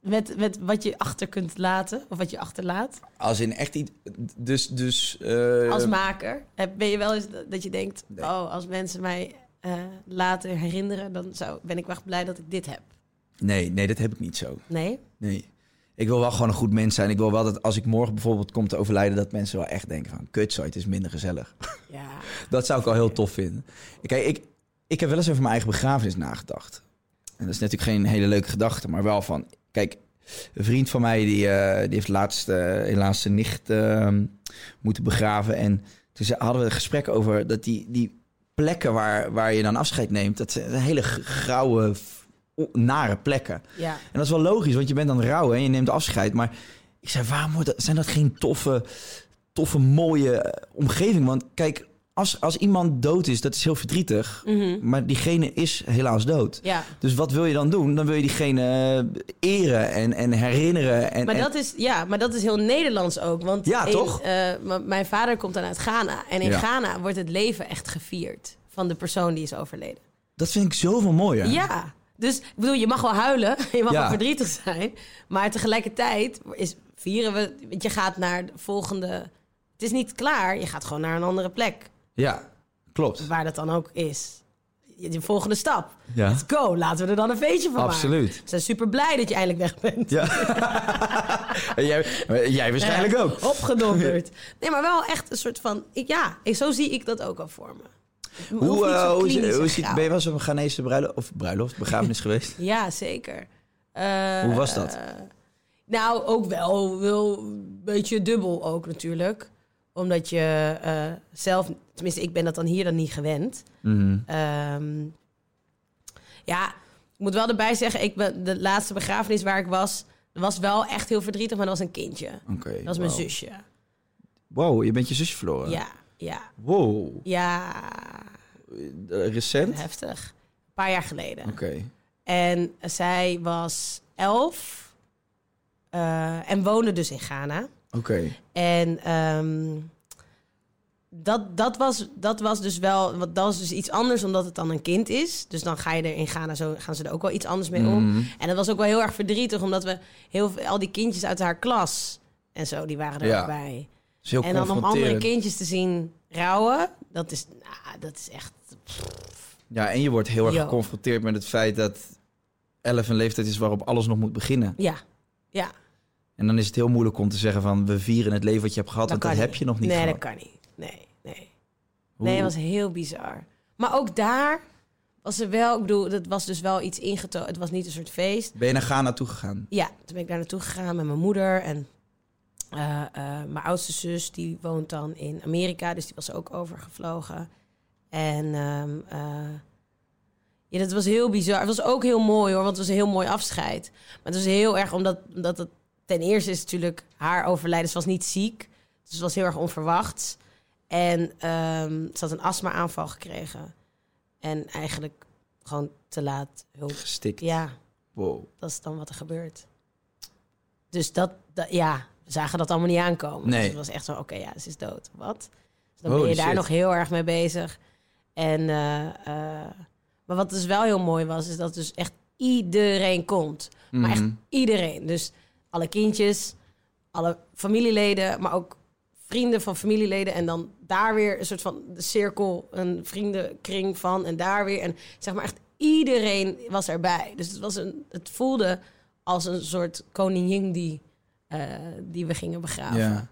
met, met wat je achter kunt laten, of wat je achterlaat Als in echt iets. Dus, dus. als maker. Heb- Ben je wel eens dat dat je denkt, Nee. oh, als mensen mij eh, later herinneren, dan zou, ben ik wel echt blij dat ik dit heb. Nee, nee, dat heb ik niet zo. Nee? Nee. Ik wil wel gewoon een goed mens zijn. Ik wil wel dat als ik morgen bijvoorbeeld kom te overlijden, dat mensen wel echt denken van kut zo, het is minder gezellig. Ja. Dat zou ik al heel tof vinden. Kijk, ik, ik heb wel eens over mijn eigen begrafenis nagedacht. En dat is natuurlijk geen hele leuke gedachte, maar wel van... Kijk, een vriend van mij die, eh, die heeft laatst eh, helaas zijn nicht eh, moeten begraven. En toen ze- hadden we een gesprek over dat die, die plekken waar, waar je dan afscheid neemt... dat zijn hele g- grauwe, f- o- nare plekken. Ja. En dat is wel logisch, want je bent aan het rouwen en je neemt afscheid. Maar ik zei, waarom wordt dat- zijn dat geen toffe, toffe mooie eh, omgeving? Want kijk, als, als iemand dood is, dat is heel verdrietig. Maar diegene is helaas dood. Mhm. Ja. Dus wat wil je dan doen? Dan wil je diegene eh, eren en, en herinneren. En, Maar, en- dat is, ja, maar dat is heel Nederlands ook. Want Ja, in, toch? eh, m- mijn vader komt dan uit Ghana. En in Ja. Ghana wordt het leven echt gevierd van de persoon die is overleden. dat vind ik zoveel mooier. Ja. Dus ik bedoel, je mag wel huilen, je mag Ja. wel verdrietig zijn. Maar tegelijkertijd is, vieren we. Want je gaat naar de volgende. Het is niet klaar, je gaat gewoon naar een andere plek. Ja, klopt. Waar dat dan ook is. Je- De volgende stap. Ja. Let's go, laten we er dan een feestje van maken. Absoluut. We zijn super blij dat je eindelijk weg bent. En jij, eh, jij waarschijnlijk ook. Ja, Opgedonderd. Nee, maar wel echt een soort van... Ik, ja, ik- zo zie ik dat ook al voor me. Het hoeft niet Hoe, zo eh, hoe, is- klinisch hoe en is het- grauw. ben je wel eens op een Ghanese bruiloft, of bruiloft, begrafenis geweest? Ja, zeker. Eh, Hoe was dat? Nou, ook wel, wel een beetje dubbel ook natuurlijk. Omdat je eh, zelf, tenminste ik ben dat dan hier dan niet gewend. Mhm. Ehm, ja, ik moet wel erbij zeggen, ik ben, de laatste begrafenis waar ik was, was wel echt heel verdrietig, maar dat was een kindje. Oké, dat was mijn wauw. zusje. Wow, je bent je zusje verloren. Ja, ja, Wow, ja, Eh, recent? Oké. heftig. Een paar jaar geleden. En zij was elf eh, en woonde dus in Ghana. Oké. En ehm, dat, dat, was, dat was dus wel, want dat was dus iets anders omdat het dan een kind is. Dus dan ga je er in Ghana zo, gaan ze er ook wel iets anders mee om. En dat was ook wel heel erg verdrietig, omdat we heel veel, al die kindjes uit haar klas en zo, die waren er Ja. ook bij. Dat is heel En dan om andere confronterend. kindjes te zien rouwen, dat is, nou, dat is echt. Ja, en je wordt heel erg Yo. geconfronteerd met het feit dat 11 een leeftijd is waarop alles nog moet beginnen. Ja. Ja, En dan is het heel moeilijk om te zeggen van we vieren het leven wat je hebt gehad, want dat kan heb niet. je nog niet nee, gehad. dat kan niet. Nee, nee. Hoe- Nee, dat was heel bizar. Maar ook daar was er wel, ik bedoel, dat was dus wel iets ingetogen. Het was niet een soort feest. Ben je naar Ghana toegegaan? Ja, toen ben ik daar naartoe gegaan met mijn moeder en eh, eh, mijn oudste zus, die woont dan in Amerika, dus die was ook overgevlogen. En ehm, eh, ja, dat was heel bizar. Het was ook heel mooi hoor, want het was een heel mooi afscheid. Maar het was heel erg, omdat, omdat het ten eerste is natuurlijk haar overlijden. Ze was niet ziek, dus het was heel erg onverwachts. En ehm, ze had een astma-aanval gekregen. En eigenlijk gewoon te laat hulp. Gestikt. Ja, Wow. dat is dan wat er gebeurt. Dus dat, dat- ja, we zagen dat allemaal niet aankomen. Nee. Dus het was echt zo, oké, ja, ze is dood. Wat? Dus dan ben Holy je daar shit. nog heel erg mee bezig. En, eh, eh, maar wat dus wel heel mooi was, is dat dus echt iedereen komt. Maar Mhm. echt iedereen. Dus alle kindjes, alle familieleden, maar ook vrienden van familieleden. En dan daar weer een soort van cirkel, een vriendenkring van. En daar weer. En zeg maar echt iedereen was erbij. Dus het, was een, het voelde als een soort koningin die, eh, die we gingen begraven. Ja.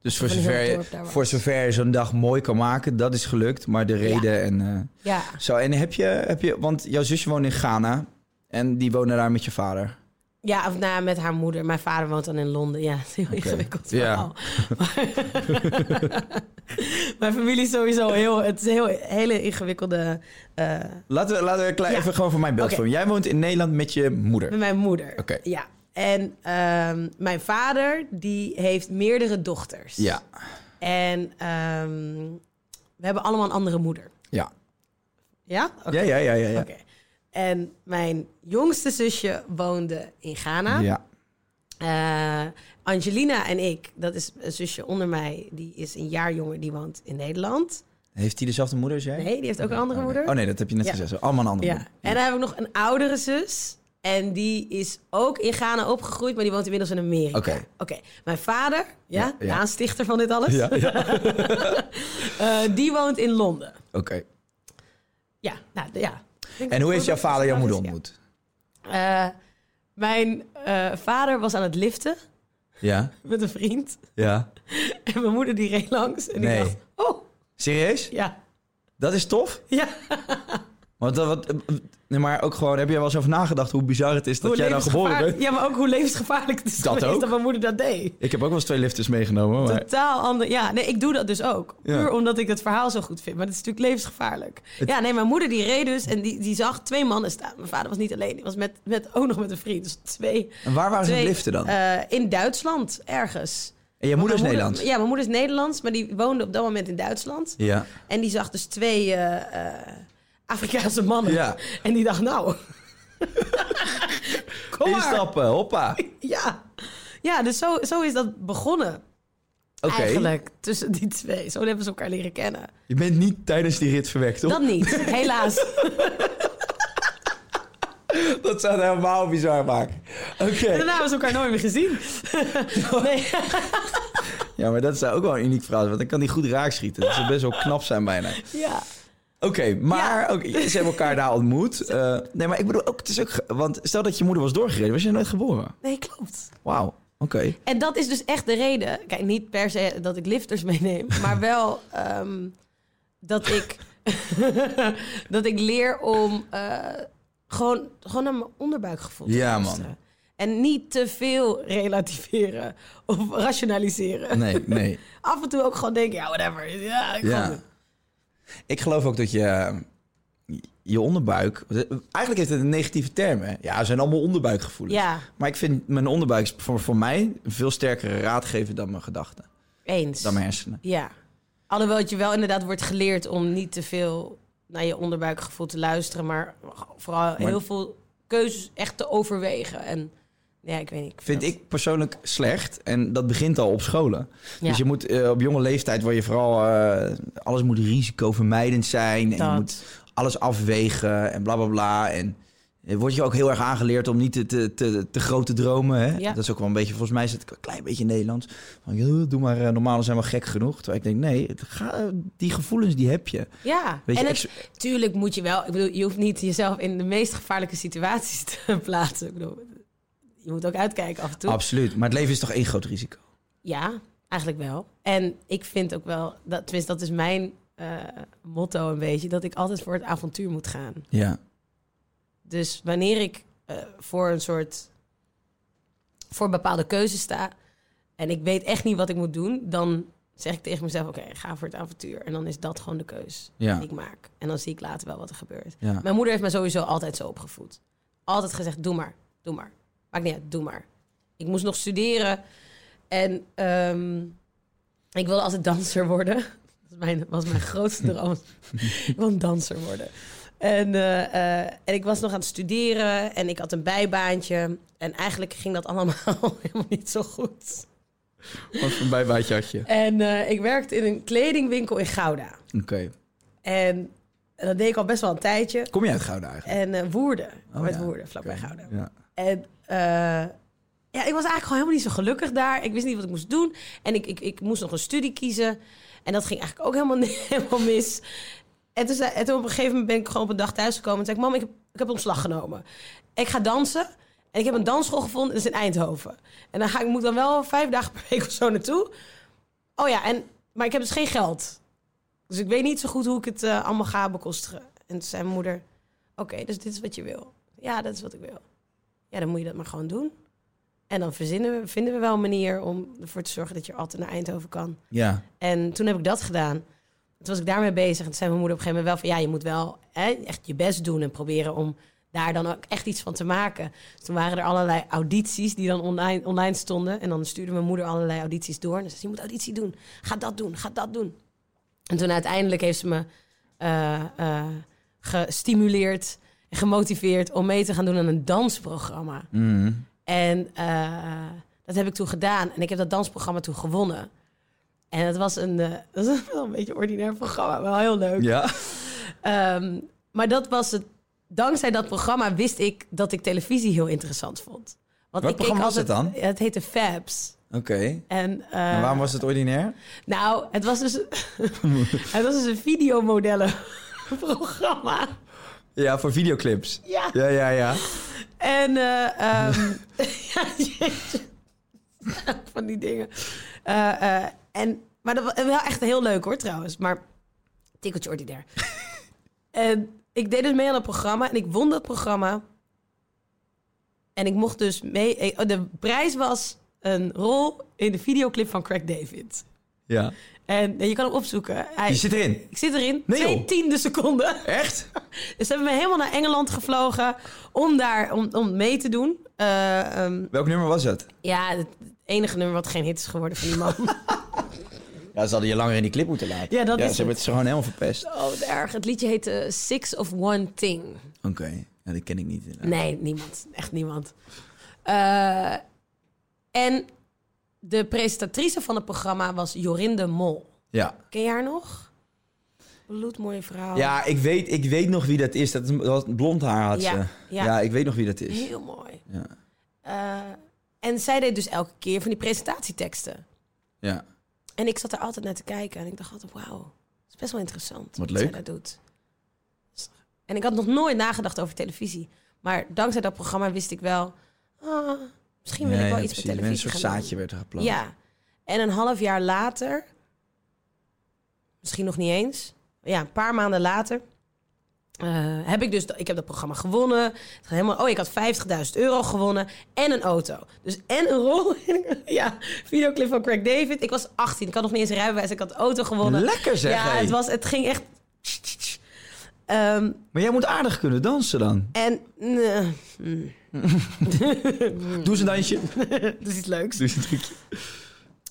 Dus voor Van heel zover, het je, dorp daar was. voor zover je zo'n dag mooi kan maken, dat is gelukt. Maar de reden en eh, Ja. zo. En heb je, heb je, want jouw zusje woont in Ghana en die woonde daar met je vader. Ja, of nou ja, met haar moeder. Mijn vader woont dan in Londen. Ja, het is heel ingewikkeld Ja. verhaal. Maar- Mijn familie is sowieso heel... Het is een heel, hele ingewikkelde... eh, Laten we, laten we een klein- Ja. even gewoon voor mijn beeld Oké. vormen. Jij woont in Nederland met je moeder. met mijn moeder. Oké. Ja. En ehm, mijn vader, die heeft meerdere dochters. Ja, En ehm, we hebben allemaal een andere moeder. ja. Ja? Oké. Ja, ja, ja, ja. ja. Oké. En mijn jongste zusje woonde in Ghana. Ja. Eh, Angelina en ik, dat is een zusje onder mij, die is een jaar jonger, die woont in Nederland. Heeft die dezelfde moeder als jij? Nee, die heeft ook een andere Oké. moeder. Oh nee, dat heb je net Ja. gezegd. Allemaal een andere ja. moeder. En dan heb ik nog een oudere zus. En die is ook in Ghana opgegroeid, maar die woont inmiddels in Amerika. Oké. Mijn vader, ja, Ja, de ja. aanstichter van dit alles, Ja, ja. Oké. eh, die woont in Londen. Ja, nou d- ja. En hoe heeft jouw vader jouw moeder Ja. ontmoet? Eh, mijn eh, vader was aan het liften Ja. met een vriend. Ja. En mijn moeder die reed langs. En die Nee. dacht, oh, Serieus? ja, Dat is tof? ja. Want dat, wat, eh, nee, maar ook gewoon, heb jij wel eens over nagedacht hoe bizar het is dat Hoe jij dan geboren levensgevaarlijk- bent? Ja, maar ook hoe levensgevaarlijk het is Dat geweest ook. dat mijn moeder dat deed. Ik heb ook wel eens twee lifters meegenomen. Maar Totaal ander. Ja, nee, ik doe dat dus ook. Ja. Puur omdat ik het verhaal zo goed vind. Maar dat is natuurlijk levensgevaarlijk. Ja, nee, mijn moeder die reed dus en die, die zag twee mannen staan. Mijn vader was niet alleen. Die was met, met, ook nog met een vriend. Dus twee. En waar waren ze aan twee, het liften dan? eh, in Duitsland, ergens. en je moeder is Mijn Nederlands? Ja, mijn moeder is Nederlands, maar die woonde op dat moment in Duitsland. Ja. En die zag dus twee eh, eh, Afrikaanse mannen. Ja. En die dacht, nou... Kom maar. Instappen, hoppa. Oké. Ja, ja dus zo, zo is dat begonnen eigenlijk tussen die twee. Zo hebben ze elkaar leren kennen. Je bent niet tijdens die rit verwekt, toch? Dat niet, helaas. Dat zou het helemaal bizar maken. Oké. Daarna hebben ze elkaar nooit meer gezien. Nee. Ja, maar dat zou ook wel een uniek verhaal zijn, want dan kan die goed raak schieten. Dat zou best wel knap zijn bijna. Ja. Oké, maar oké, ze hebben elkaar daar ontmoet. Eh, nee, maar ik bedoel ook, het is ook, ge- want stel dat je moeder was doorgereden, was je nooit geboren. nee, klopt. Wauw, oké. En dat is dus echt de reden. Kijk, niet per se dat ik lifters meeneem, maar wel ehm, dat ik. dat ik leer om eh, gewoon, gewoon naar mijn onderbuikgevoel te Ja, man. luisteren. En niet te veel relativeren of rationaliseren. Nee, nee. Af en toe ook gewoon denken, ja, whatever. Ja, ik Ja. ga doen. Ik geloof ook dat je je onderbuik. Eigenlijk heeft het een negatieve term. Hè? Ja, het zijn allemaal onderbuikgevoelens. Ja. Maar ik vind mijn onderbuik is voor, voor mij een veel sterkere raadgever dan mijn gedachten, Eens. dan mijn hersenen. Ja. Alhoewel het je wel inderdaad wordt geleerd om niet te veel naar je onderbuikgevoel te luisteren, maar vooral heel veel keuzes echt te overwegen. En ja, ik weet niet. Vind dat- ik persoonlijk slecht. En dat begint al op scholen. Ja. Dus je moet eh, op jonge leeftijd, waar je vooral eh, alles moet risicovermijdend zijn. En Dat. je moet alles afwegen en bla bla bla. En eh, Word je ook heel erg aangeleerd om niet te, te, te, te groot te dromen. Hè? Ja. Dat is ook wel een beetje, volgens mij zit het een klein beetje Nederlands. Van, joh, doe maar, eh, normalen zijn we gek genoeg. Terwijl ik denk, nee, het ga, die gevoelens die heb je. Ja, Weet je, en het, tuurlijk moet je wel. Ik bedoel, je hoeft niet jezelf in de meest gevaarlijke situaties te plaatsen. Ik bedoel, je moet ook uitkijken af en toe. Absoluut. Maar het leven is toch één groot risico? ja, eigenlijk wel. En ik vind ook wel, dat, tenminste, dat is mijn eh, motto een beetje, dat ik altijd voor het avontuur moet gaan. Ja. Dus wanneer ik eh, voor een soort. voor bepaalde keuzes sta. en ik weet echt niet wat ik moet doen. dan zeg ik tegen mezelf: oké, ga voor het avontuur. En dan is dat gewoon de keus Ja. die ik maak. En dan zie ik later wel wat er gebeurt. Ja. Mijn moeder heeft me sowieso altijd zo opgevoed. Altijd gezegd: doe maar, doe maar. Maakt niet uit, doe maar. Ik moest nog studeren. En ehm, ik wilde altijd danser worden. Dat was mijn, was mijn grootste droom. ik wil een danser worden. En, eh, eh, en ik was nog aan het studeren en ik had een bijbaantje. En eigenlijk ging dat allemaal helemaal niet zo goed. Wat voor een bijbaatje had je? En eh, ik werkte in een kledingwinkel in Gouda. Oké. En eh, dat deed ik al best wel een tijdje. Kom je uit Gouda eigenlijk? En eh, Woerden, Oh, met ja. Woerden, vlakbij Oké. Gouda. Ja. En eh, ja, ik was eigenlijk gewoon helemaal niet zo gelukkig daar. Ik wist niet wat ik moest doen. En ik, ik, ik moest nog een studie kiezen. En dat ging eigenlijk ook helemaal, helemaal mis. En toen, zei- en toen op een gegeven moment ben ik gewoon op een dag thuisgekomen. En toen zei ik, mam, ik heb, ik heb ontslag genomen. Ik ga dansen. En ik heb een dansschool gevonden. Dat is in Eindhoven. En dan ga ik, moet dan wel vijf dagen per week of zo naartoe. Oh ja, en, maar ik heb dus geen geld. Dus ik weet niet zo goed hoe ik het eh, allemaal ga bekostigen. En toen zei mijn moeder, oké, dus dit is wat je wil. Ja, dat is wat ik wil ja, dan moet je dat maar gewoon doen. En dan verzinnen we, vinden we wel een manier om ervoor te zorgen dat je altijd naar Eindhoven kan. ja. En toen heb ik dat gedaan. Toen was ik daarmee bezig. En toen zei mijn moeder op een gegeven moment wel van... ja, je moet wel hè, echt je best doen en proberen om daar dan ook echt iets van te maken. Dus toen waren er allerlei audities die dan online, online stonden. En dan stuurde mijn moeder allerlei audities door. En ze zei, je moet auditie doen. Ga dat doen, ga dat doen. En toen uiteindelijk heeft ze me eh, eh, gestimuleerd en gemotiveerd... om mee te gaan doen aan een dansprogramma. Mhm. En eh, dat heb ik toen gedaan. En ik heb dat dansprogramma toen gewonnen. En dat was een, eh, dat was wel een beetje een ordinair programma, maar wel heel leuk. Ja. Ehm, maar dat was het. Dankzij dat programma wist ik dat ik televisie heel interessant vond. Want Welk ik keek programma was altijd- het dan? Ja, Het heette Fabs. Oké. En, eh, En waarom was het ordinair? nou, het was dus, het was dus een videomodellenprogramma. Ja, voor videoclips. Ja. Ja, ja, ja. En eh ehm, ja, jeetje. van die dingen. Eh, eh, en, maar dat was wel echt heel leuk hoor trouwens. Maar tikkeltje ordinair. en ik deed dus mee aan het programma en ik won dat programma. En ik mocht dus mee. eh, oh, De prijs was een rol in de videoclip van Craig David. Ja. En eh, je kan hem opzoeken. Hij, Je zit erin. ik zit erin. Nee, twee joh. tiende seconden. Echt? Dus ze hebben me helemaal naar Engeland gevlogen om daar om, om mee te doen. Eh, ehm, Welk nummer was het? ja, het enige nummer wat geen hit is geworden van die man. Ja, ze hadden je langer in die clip moeten laten. Ja, dat is ze hebben het gewoon helemaal verpest. Oké. oh, wat erg. Het liedje heette Six of One Thing. Ja, dat ken ik niet. inderdaad. Nee, niemand. Echt niemand. Eh, en de presentatrice van het programma was Jorinde Mol. Ja. Ken jij haar nog? Bloedmooie vrouw. Ja, ik weet, ik weet nog wie dat is. Dat is- dat blond haar had Ja, ze. ja. Ja. ik weet nog wie dat is. Heel mooi. Ja. Eh, en zij deed dus elke keer van die presentatieteksten. Ja. En ik zat er altijd naar te kijken en ik dacht altijd, wauw, dat is best wel interessant Wat zij leuk. dat doet. Dus- En ik had nog nooit nagedacht over televisie. Maar dankzij dat programma wist ik wel, ah, misschien wil Ja, ik wel ja, iets met precies. televisie Een soort gaan doen. zaadje werd er geplant. Ja. En een half jaar later, misschien nog niet eens, ja, een paar maanden later, eh, heb ik dus, ik heb dat programma gewonnen. Het ging helemaal, oh, ik had 50.000 euro gewonnen en een auto. Dus en een rol in een ja, videoclip van Craig David. Ik was 18, ik had nog niet eens een rijbewijs, ik had een auto gewonnen. Lekker zeg, Ja, hé. het, was, het ging echt... Ehm, Maar jij moet aardig kunnen dansen dan. en... eh, Doe eens een dansje. dat is iets leuks. Doe eens een trucje.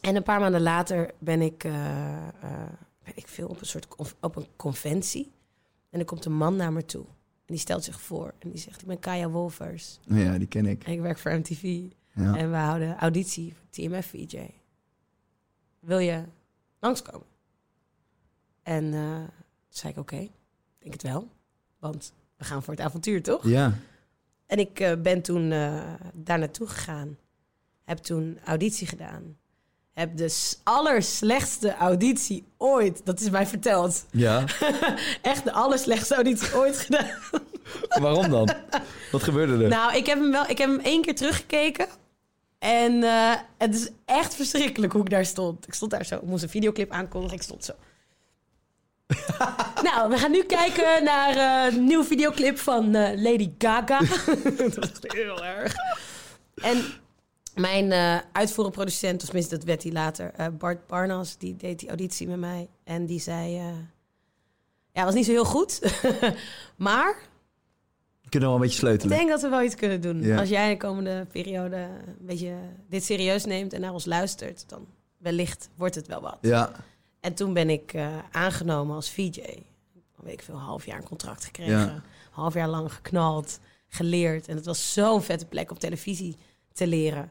En een paar maanden later ben ik, eh, eh, weet ik veel, op een soort conf- op een conventie. En er komt een man naar me toe. En die stelt zich voor. En die zegt, ik ben Kaya Wolvers. Nou Ja, die ken ik. En ik werk voor MTV. Ja. En we houden auditie voor TMF VJ. Wil je langskomen? En eh, toen zei ik, oké, ik denk het wel. Want we gaan voor het avontuur, toch? Ja. En ik eh, ben toen eh, daar naartoe gegaan. Heb toen auditie gedaan. Heb de s- allerslechtste auditie ooit, dat is mij verteld. Ja, Echt de allerslechtste auditie ooit gedaan. waarom dan? Wat gebeurde er? Nou, ik heb hem wel, ik heb hem één keer teruggekeken. En eh, het is echt verschrikkelijk hoe ik daar stond. Ik stond daar zo, ik moest een videoclip aankondigen, ik stond zo. nou, we gaan nu kijken naar eh, een nieuwe videoclip van eh, Lady Gaga. dat was echt heel erg. En mijn eh uitvoerend producent, of tenminste dat werd hij later, eh, Bart Barnas, die deed die auditie met mij. En die zei, eh, ja, was niet zo heel goed, maar Kunnen we wel een beetje ik sleutelen? denk dat we wel iets kunnen doen. Ja. Als jij de komende periode een beetje dit serieus neemt en naar ons luistert, dan wellicht wordt het wel wat. Ja, En toen ben ik eh, aangenomen als VJ. Dan weet ik veel, een half jaar een contract gekregen. Ja. Half jaar lang geknald, geleerd. En het was zo'n vette plek om televisie te leren.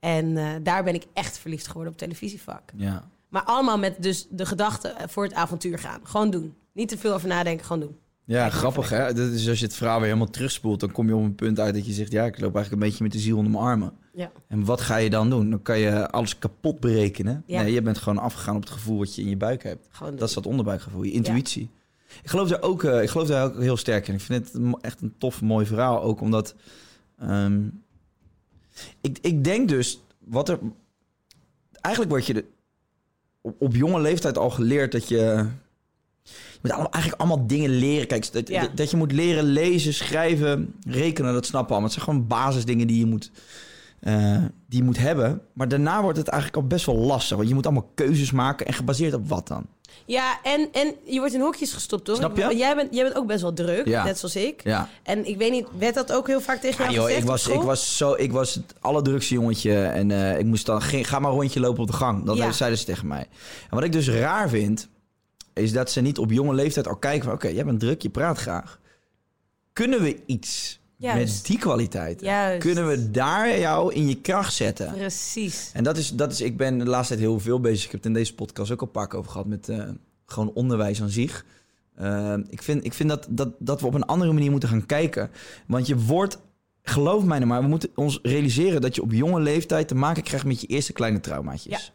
En eh, daar ben ik echt verliefd geworden op televisievak. ja. Maar allemaal met dus de gedachte eh, voor het avontuur gaan. Gewoon doen. Niet te veel over nadenken, gewoon doen. Ja, grappig hè. Dat is als je het verhaal weer helemaal terugspoelt, dan kom je op een punt uit dat je zegt, ja, ik loop eigenlijk een beetje met de ziel onder mijn armen. Ja. En wat ga je dan doen? Dan kan je alles kapot berekenen. Ja. Nee, je bent gewoon afgegaan op het gevoel wat je in je buik hebt. Gewoon doen. Dat is dat onderbuikgevoel, je intuïtie. Ik, geloof daar ook, eh, ik geloof daar ook heel sterk in. Ik vind het een mo- echt een tof, mooi verhaal. Ook omdat... ehm, ik, ik denk dus, wat er... Eigenlijk word je de- op, op jonge leeftijd al geleerd dat je... Je moet allemaal, eigenlijk allemaal dingen leren. Kijk, dat, Ja. dat je moet leren lezen, schrijven, rekenen, dat snappen allemaal. Het zijn gewoon basisdingen die je moet, eh, die je moet hebben. Maar daarna wordt het eigenlijk al best wel lastig. Want je moet allemaal keuzes maken. En gebaseerd op wat dan? Ja, en, en je wordt in hokjes gestopt, hoor. Snap je? Jij bent, jij bent ook best wel druk, Ja. net zoals ik. Ja. En ik weet niet, werd dat ook heel vaak tegen Ja, jou joh, gezegd ik op was, ik school? was, zo, ik was het allerdrukste jongetje. En eh, ik moest dan, geen, ga maar een rondje lopen op de gang. Dat Ja. zeiden ze tegen mij. En wat ik dus raar vind, is dat ze niet op jonge leeftijd al kijken van... Oké, jij bent druk, je praat graag. Kunnen we iets met Juist. die kwaliteit? Juist. Kunnen we daar jou in je kracht zetten? Precies. En dat is, dat is, ik ben de laatste tijd heel veel bezig. Ik heb het in deze podcast ook al een paar keer over gehad met eh, gewoon onderwijs aan zich. Eh, ik vind, ik vind dat, dat, dat we op een andere manier moeten gaan kijken. Want je wordt, geloof mij nou maar, we moeten ons realiseren dat je op jonge leeftijd te maken krijgt met je eerste kleine traumaatjes.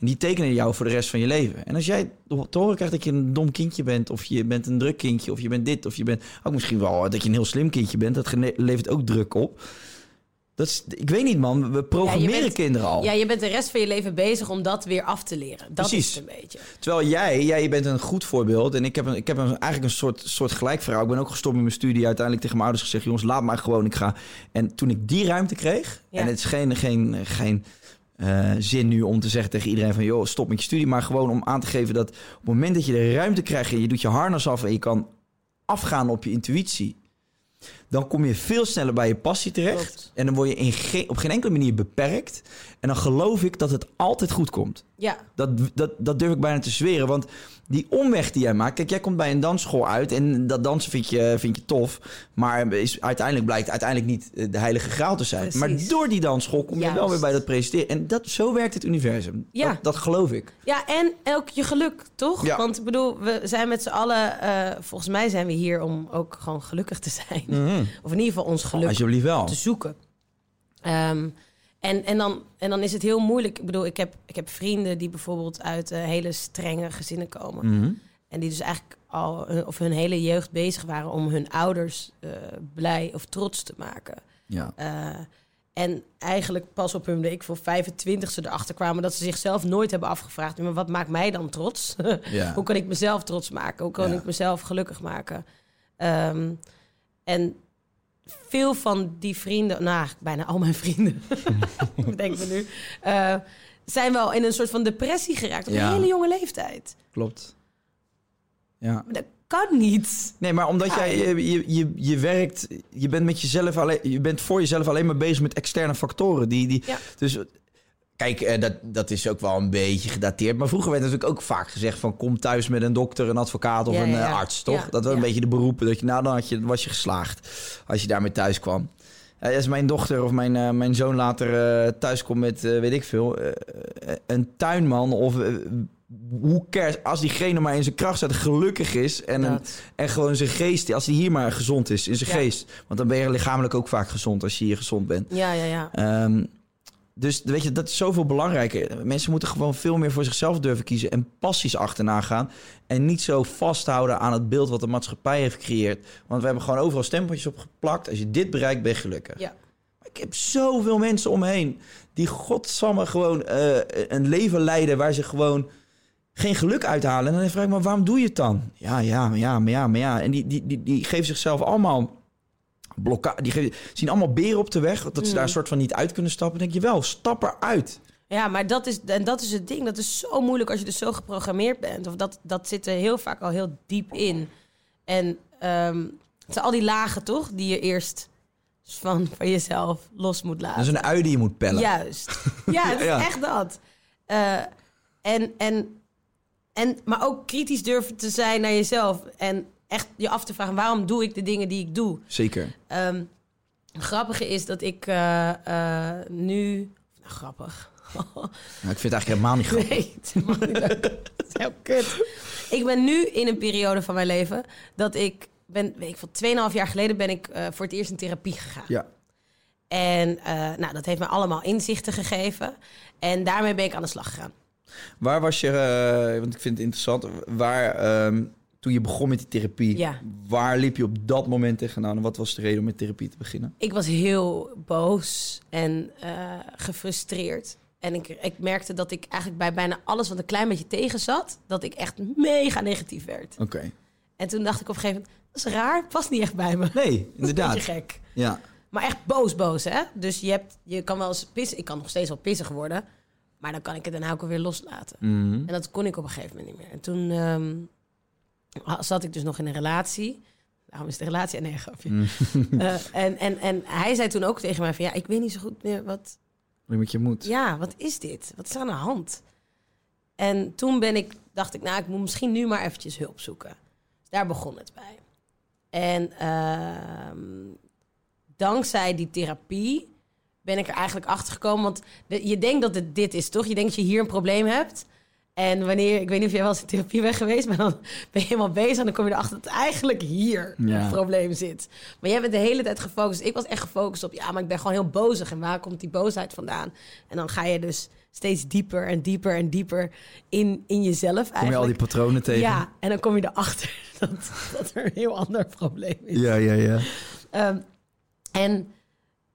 En die tekenen jou voor de rest van je leven. En als jij te horen krijgt dat je een dom kindje bent, of je bent een druk kindje, of je bent dit, of je bent ook misschien wel eh, dat je een heel slim kindje bent, dat gene- levert ook druk op. Dat is, ik weet niet man, we programmeren bent- kinderen al. Ja, je bent de rest van je leven bezig om dat weer af te leren. Dat Precies. is het een beetje. Terwijl jij, jij bent een goed voorbeeld. En ik heb, een, ik heb een, eigenlijk een soort, soort gelijk verhaal. Ik ben ook gestopt met mijn studie. Uiteindelijk tegen mijn ouders gezegd... jongens, laat mij gewoon, ik ga. En toen ik die ruimte kreeg... Ja. en het is geen, geen, geen eh, zin nu om te zeggen tegen iedereen van... joh, stop met je studie. Maar gewoon om aan te geven dat op het moment dat je de ruimte krijgt... en je doet je harnas af en je kan afgaan op je intuïtie... dan kom je veel sneller bij je passie terecht. Klopt. En dan word je in geen, op geen enkele manier beperkt. En dan geloof ik dat het altijd goed komt. Ja, Dat, dat, dat durf ik bijna te zweren. Want die omweg die jij maakt. Kijk, jij komt bij een dansschool uit. En dat dansen vind je, vind je tof. Maar is, uiteindelijk blijkt uiteindelijk niet eh, de heilige graal te zijn. Precies. Maar door die dansschool kom je wel Juist. weer bij dat presenteren. En dat, zo werkt het universum. Ja. Dat, dat geloof ik. ja en ook je geluk, toch? Ja. Want ik bedoel, we zijn met z'n allen... eh, volgens mij zijn we hier om ook gewoon gelukkig te zijn. Mhm. Of in ieder geval ons geluk Alsjeblieft wel. te zoeken. Ehm, en, en, dan, en dan is het heel moeilijk. Ik bedoel, ik heb, ik heb vrienden die bijvoorbeeld uit eh, hele strenge gezinnen komen. En die dus eigenlijk al hun, of hun hele jeugd bezig waren om hun ouders eh, blij of trots te maken. Ja. Eh, en eigenlijk pas op hun, weet ik voor 25 ze erachter kwamen dat ze zichzelf nooit hebben afgevraagd. Maar wat maakt mij dan trots? Ja. Hoe kan ik mezelf trots maken? Hoe kan Ja. ik mezelf gelukkig maken? Ehm, en veel van die vrienden, nou eigenlijk bijna al mijn vrienden, bedenk me nu, eh, zijn wel in een soort van depressie geraakt op Ja. een hele jonge leeftijd. Klopt. Ja. Maar dat kan niet. Nee, maar omdat jij je, je, je, je werkt, je bent met jezelf alleen, je bent voor jezelf alleen maar bezig met externe factoren. Die, die, Ja. Dus eh, kijk, eh, dat, dat is ook wel een beetje gedateerd. Maar vroeger werd natuurlijk ook vaak gezegd van kom thuis met een dokter, een advocaat of Ja, een ja, eh, ja. arts, toch? Ja, dat was ja. een beetje de beroepen. Dat je, nou, dan had je, was je geslaagd als je daarmee thuis kwam. Eh, als mijn dochter of mijn, eh, mijn zoon later eh thuis komt met, eh, weet ik veel, eh, eh, een tuinman of eh, Hoe cares? Als diegene maar in zijn kracht staat, gelukkig is. En, een- Dat. en gewoon zijn geest. Als hij hier maar gezond is, in zijn Ja. geest. Want dan ben je lichamelijk ook vaak gezond als je hier gezond bent. Ja, ja, ja. Ehm, dus weet je, dat is zoveel belangrijker. Mensen moeten gewoon veel meer voor zichzelf durven kiezen en passies achterna gaan. En niet zo vasthouden aan het beeld wat de maatschappij heeft gecreëerd. Want we hebben gewoon overal stempeltjes op geplakt. Als je dit bereikt, ben je gelukkig. Ja. Maar ik heb zoveel mensen om me heen die godsamme gewoon eh, een leven leiden waar ze gewoon geen geluk uithalen. En dan vraag ik me, waarom doe je het dan? Ja, ja, maar ja, maar ja, maar ja. En die, die, die, die geven zichzelf allemaal blokka. Die geven, zien allemaal beren op de weg, dat ze daar een soort van niet uit kunnen stappen. Dan denk je wel, stap eruit. Ja, maar dat is, en dat is het ding. Dat is zo moeilijk als je dus zo geprogrammeerd bent. Of dat, dat zit er heel vaak al heel diep in. En ehm, het zijn al die lagen, toch? Die je eerst van, van jezelf los moet laten. Dat is een ui die je moet pellen. Juist. Ja, het is Ja. echt dat. Eh, en, en, en, maar ook kritisch durven te zijn naar jezelf. En echt je af te vragen, waarom doe ik de dingen die ik doe? Zeker. Ehm het grappige is dat ik eh, eh, nu... Nou, grappig. Nou, ik vind het eigenlijk helemaal niet grappig. Nee, het is helemaal niet leuk. Het is heel kut. Ik ben nu in een periode van mijn leven dat ik ben, weet ik veel, 2,5 jaar geleden ben ik eh, voor het eerst in therapie gegaan. Ja. En eh, nou, dat heeft me allemaal inzichten gegeven. En daarmee ben ik aan de slag gegaan. Waar was je, eh, want ik vind het interessant, waar ehm, toen je begon met die therapie, Ja. waar liep je op dat moment tegenaan en wat was de reden om met therapie te beginnen? Ik was heel boos en eh, gefrustreerd. En ik, ik merkte dat ik eigenlijk bij bijna alles wat een klein beetje tegen zat, dat ik echt mega negatief werd. Oké. En toen dacht ik op een gegeven moment, dat is raar, past niet echt bij me. Nee, inderdaad. Beetje gek. Ja. Maar echt boos, boos, hè? Dus je, hebt, je kan wel eens pissen. Ik kan nog steeds wel pissig worden. Maar dan kan ik het daarna ook alweer loslaten. En dat kon ik op een gegeven moment niet meer. En toen ehm, zat ik dus nog in een relatie. Daarom is de relatie... Nee, grapje. Eh, en, en, en hij zei toen ook tegen mij van... Ja, ik weet niet zo goed meer wat, Wat je moet. ja, wat is dit? Wat is er aan de hand? En toen ben ik, dacht ik, nou, ik moet misschien nu maar eventjes hulp zoeken. Dus daar begon het bij. En ehm, dankzij die therapie ben ik er eigenlijk achter gekomen. Want de- je denkt dat het dit is, toch? Je denkt dat je hier een probleem hebt. En wanneer, ik weet niet of jij wel eens in therapie bent geweest, maar dan ben je helemaal bezig en dan kom je erachter dat het eigenlijk hier Ja. het probleem zit. Maar jij bent de hele tijd gefocust. Ik was echt gefocust op, ja, maar ik ben gewoon heel bozig. En waar komt die boosheid vandaan? En dan ga je dus steeds dieper en dieper en dieper in, in jezelf eigenlijk. Kom je al die patronen tegen? Ja, en dan kom je erachter dat, dat er een heel ander probleem is. ja, ja. ja. Ehm, en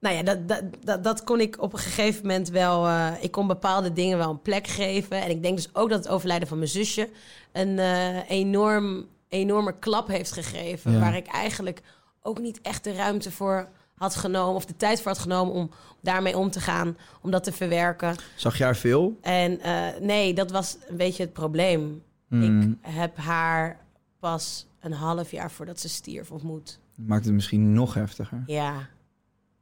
nou ja, dat, dat, dat, dat kon ik op een gegeven moment wel. eh, ik kon bepaalde dingen wel een plek geven. En ik denk dus ook dat het overlijden van mijn zusje een eh, enorm, enorme klap heeft gegeven. Ja. Waar ik eigenlijk ook niet echt de ruimte voor had genomen. Of de tijd voor had genomen om daarmee om te gaan. Om dat te verwerken. Zag je haar veel? En eh, nee, dat was een beetje het probleem. Mm. Hmm. Ik heb haar pas een half jaar voordat ze stierf ontmoet. Maakt het misschien nog heftiger. Ja,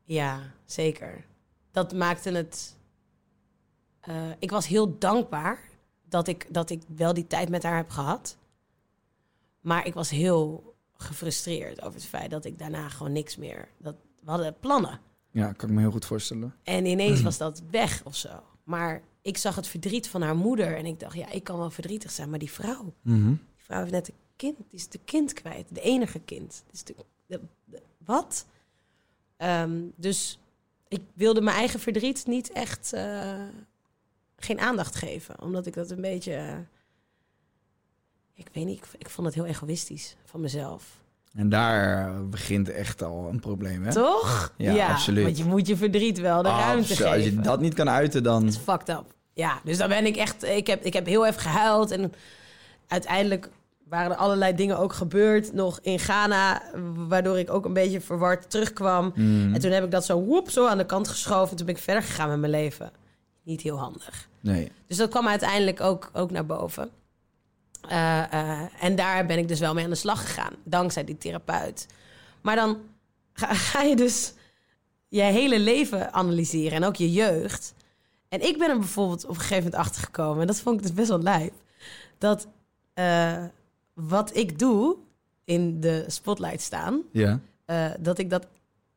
ja, zeker. Dat maakte het. eh, ik was heel dankbaar dat ik, dat ik wel die tijd met haar heb gehad. Maar ik was heel gefrustreerd over het feit dat ik daarna gewoon niks meer. Dat, we hadden plannen. Ja, kan ik me heel goed voorstellen. En Mm. ineens was dat weg of zo. Maar ik zag het verdriet van haar moeder. En ik dacht, ja, ik kan wel verdrietig zijn. Maar die vrouw, Mhm. die vrouw heeft net een kind. Die is de kind kwijt. De enige kind. Dus de, de- de- wat? Ehm, dus ik wilde mijn eigen verdriet niet echt eh, geen aandacht geven. Omdat ik dat een beetje... eh, ik weet niet, ik, ik vond het heel egoïstisch van mezelf. En daar eh, begint echt al een probleem, hè? Toch? Ja, absoluut. Want je moet je verdriet wel de ruimte Absoluut. geven. Als je dat niet kan uiten, dan... is fucked up. Ja, dus dan ben ik echt... Ik heb, ik heb heel even gehuild. En uiteindelijk waren er allerlei dingen ook gebeurd. Nog in Ghana, waardoor ik ook een beetje verward terugkwam. En toen heb ik dat zo, woep, zo aan de kant geschoven. En toen ben ik verder gegaan met mijn leven. Niet heel handig. Nee. Dus dat kwam uiteindelijk ook, ook naar boven. Eh, eh, en daar ben ik dus wel mee aan de slag gegaan, dankzij die therapeut. Maar dan ga, ga je dus je hele leven analyseren en ook je jeugd. En ik ben er bijvoorbeeld op een gegeven moment achter gekomen, en dat vond ik dus best wel lijp, dat eh, wat ik doe in de spotlight staan, Ja. eh, dat ik dat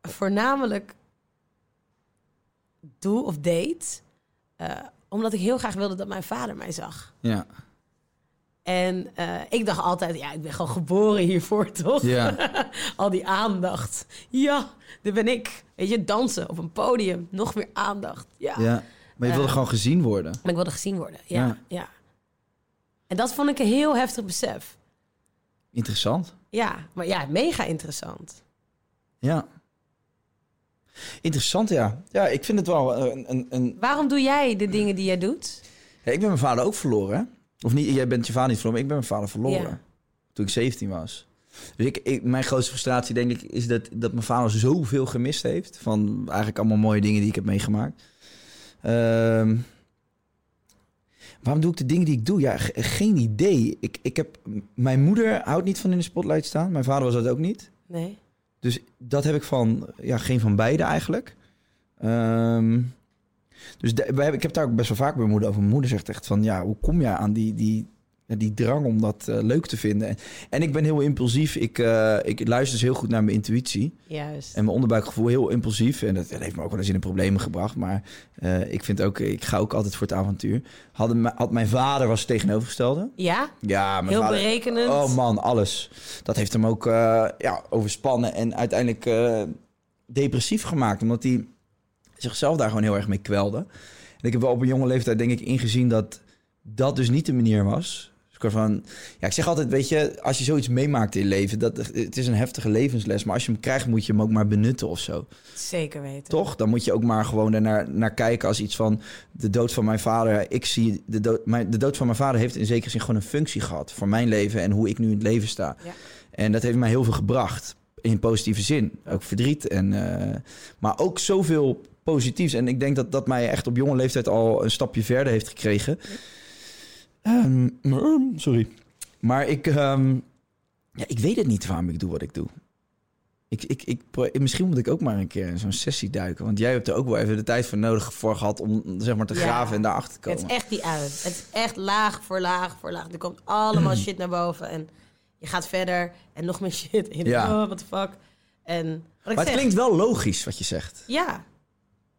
voornamelijk doe of deed, eh, omdat ik heel graag wilde dat mijn vader mij zag. Ja. En eh, ik dacht altijd, ja, ik ben gewoon geboren hiervoor, toch? Ja. Al die aandacht. Ja, daar ben ik. Weet je, dansen op een podium. Nog meer aandacht. Ja. ja. Maar je wilde Eh. gewoon gezien worden. Maar ik wilde gezien worden. Ja, Ja. ja. En dat vond ik een heel heftig besef. Interessant. Ja, maar ja, mega interessant. Ja. Interessant, ja. Ja, ik vind het wel eh, een... een, een... Waarom doe jij de dingen die jij doet? Ja, ik ben mijn vader ook verloren. hè. Of niet, jij bent je vader niet verloren, maar ik ben mijn vader verloren. Ja. Toen ik 17 was. Dus ik, ik- mijn grootste frustratie, denk ik, is dat, dat mijn vader zoveel gemist heeft. Van eigenlijk allemaal mooie dingen die ik heb meegemaakt. Ehm, waarom doe ik de dingen die ik doe? Ja, ge- geen idee. Ik, ik heb, mijn moeder houdt niet van in de spotlight staan. Mijn vader was dat ook niet. Nee. Dus dat heb ik van, ja, geen van beide eigenlijk. Ehm, dus da- wij hebben- ik heb daar ook best wel vaak bij mijn moeder over. Mijn moeder zegt echt van, ja, hoe kom jij aan die, die, ja, die drang om dat eh, leuk te vinden? En, en ik ben heel impulsief. Ik, eh, ik luister dus heel goed naar mijn intuïtie. Juist. En mijn onderbuikgevoel heel impulsief. En dat, dat heeft me ook wel eens in de problemen gebracht. Maar eh, ik vind ook, ik ga ook altijd voor het avontuur. Hadden, me- had mijn vader was het tegenovergestelde. Ja? Ja, mijn Heel vader- berekenend. Oh man, alles. Dat heeft hem ook eh, ja, overspannen en uiteindelijk eh, depressief gemaakt. Omdat hij zichzelf daar gewoon heel erg mee kwelde. En ik heb wel op een jonge leeftijd denk ik ingezien dat dat dus niet de manier was. Dus ik, was van, ja, ik zeg altijd, weet je, als je zoiets meemaakt in je leven, dat, het is een heftige levensles. Maar als je hem krijgt, moet je hem ook maar benutten of zo. Zeker weten. Toch? Dan moet je ook maar gewoon ernaar naar kijken als iets van de dood van mijn vader. Ik zie de dood, mijn, de dood van mijn vader heeft in zekere zin gewoon een functie gehad voor mijn leven en hoe ik nu in het leven sta. Ja. En dat heeft mij heel veel gebracht in positieve zin. Ook verdriet en, eh, maar ook zoveel positiefs. En ik denk dat dat mij echt op jonge leeftijd al een stapje verder heeft gekregen. Ehm, ehm, sorry. Maar ik, ehm, ja, ik weet het niet waarom ik doe wat ik doe. Ik, ik, ik, pro- misschien moet ik ook maar een keer in zo'n sessie duiken. Want jij hebt er ook wel even de tijd voor nodig voor gehad om zeg maar, te Ja. graven en daarachter te komen. Het is echt die ui. Het is echt laag voor laag voor laag. Er komt Mm. allemaal shit naar boven. En je gaat verder. En nog meer shit. En je Ja. denkt, oh, what the fuck. En wat ik maar het zeg, klinkt wel logisch wat je zegt. Ja.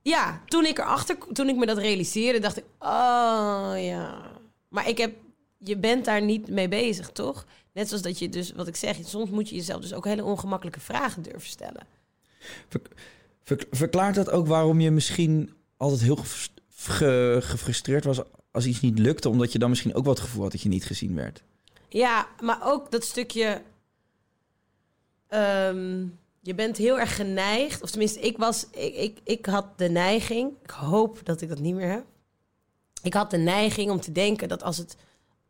Ja, toen ik erachter, toen ik me dat realiseerde, dacht ik, oh ja. Maar ik heb, je bent daar niet mee bezig, toch? Net zoals dat je dus, wat ik zeg, soms moet je jezelf dus ook hele ongemakkelijke vragen durven stellen. Verk- verk- verklaart dat ook waarom je misschien altijd heel gefrust- ge- gefrustreerd was als iets niet lukte? Omdat je dan misschien ook wel het gevoel had dat je niet gezien werd. Ja, maar ook dat stukje. ehm, je bent heel erg geneigd, of tenminste, ik was, ik, ik, ik had de neiging. Ik hoop dat ik dat niet meer heb. Ik had de neiging om te denken dat als het,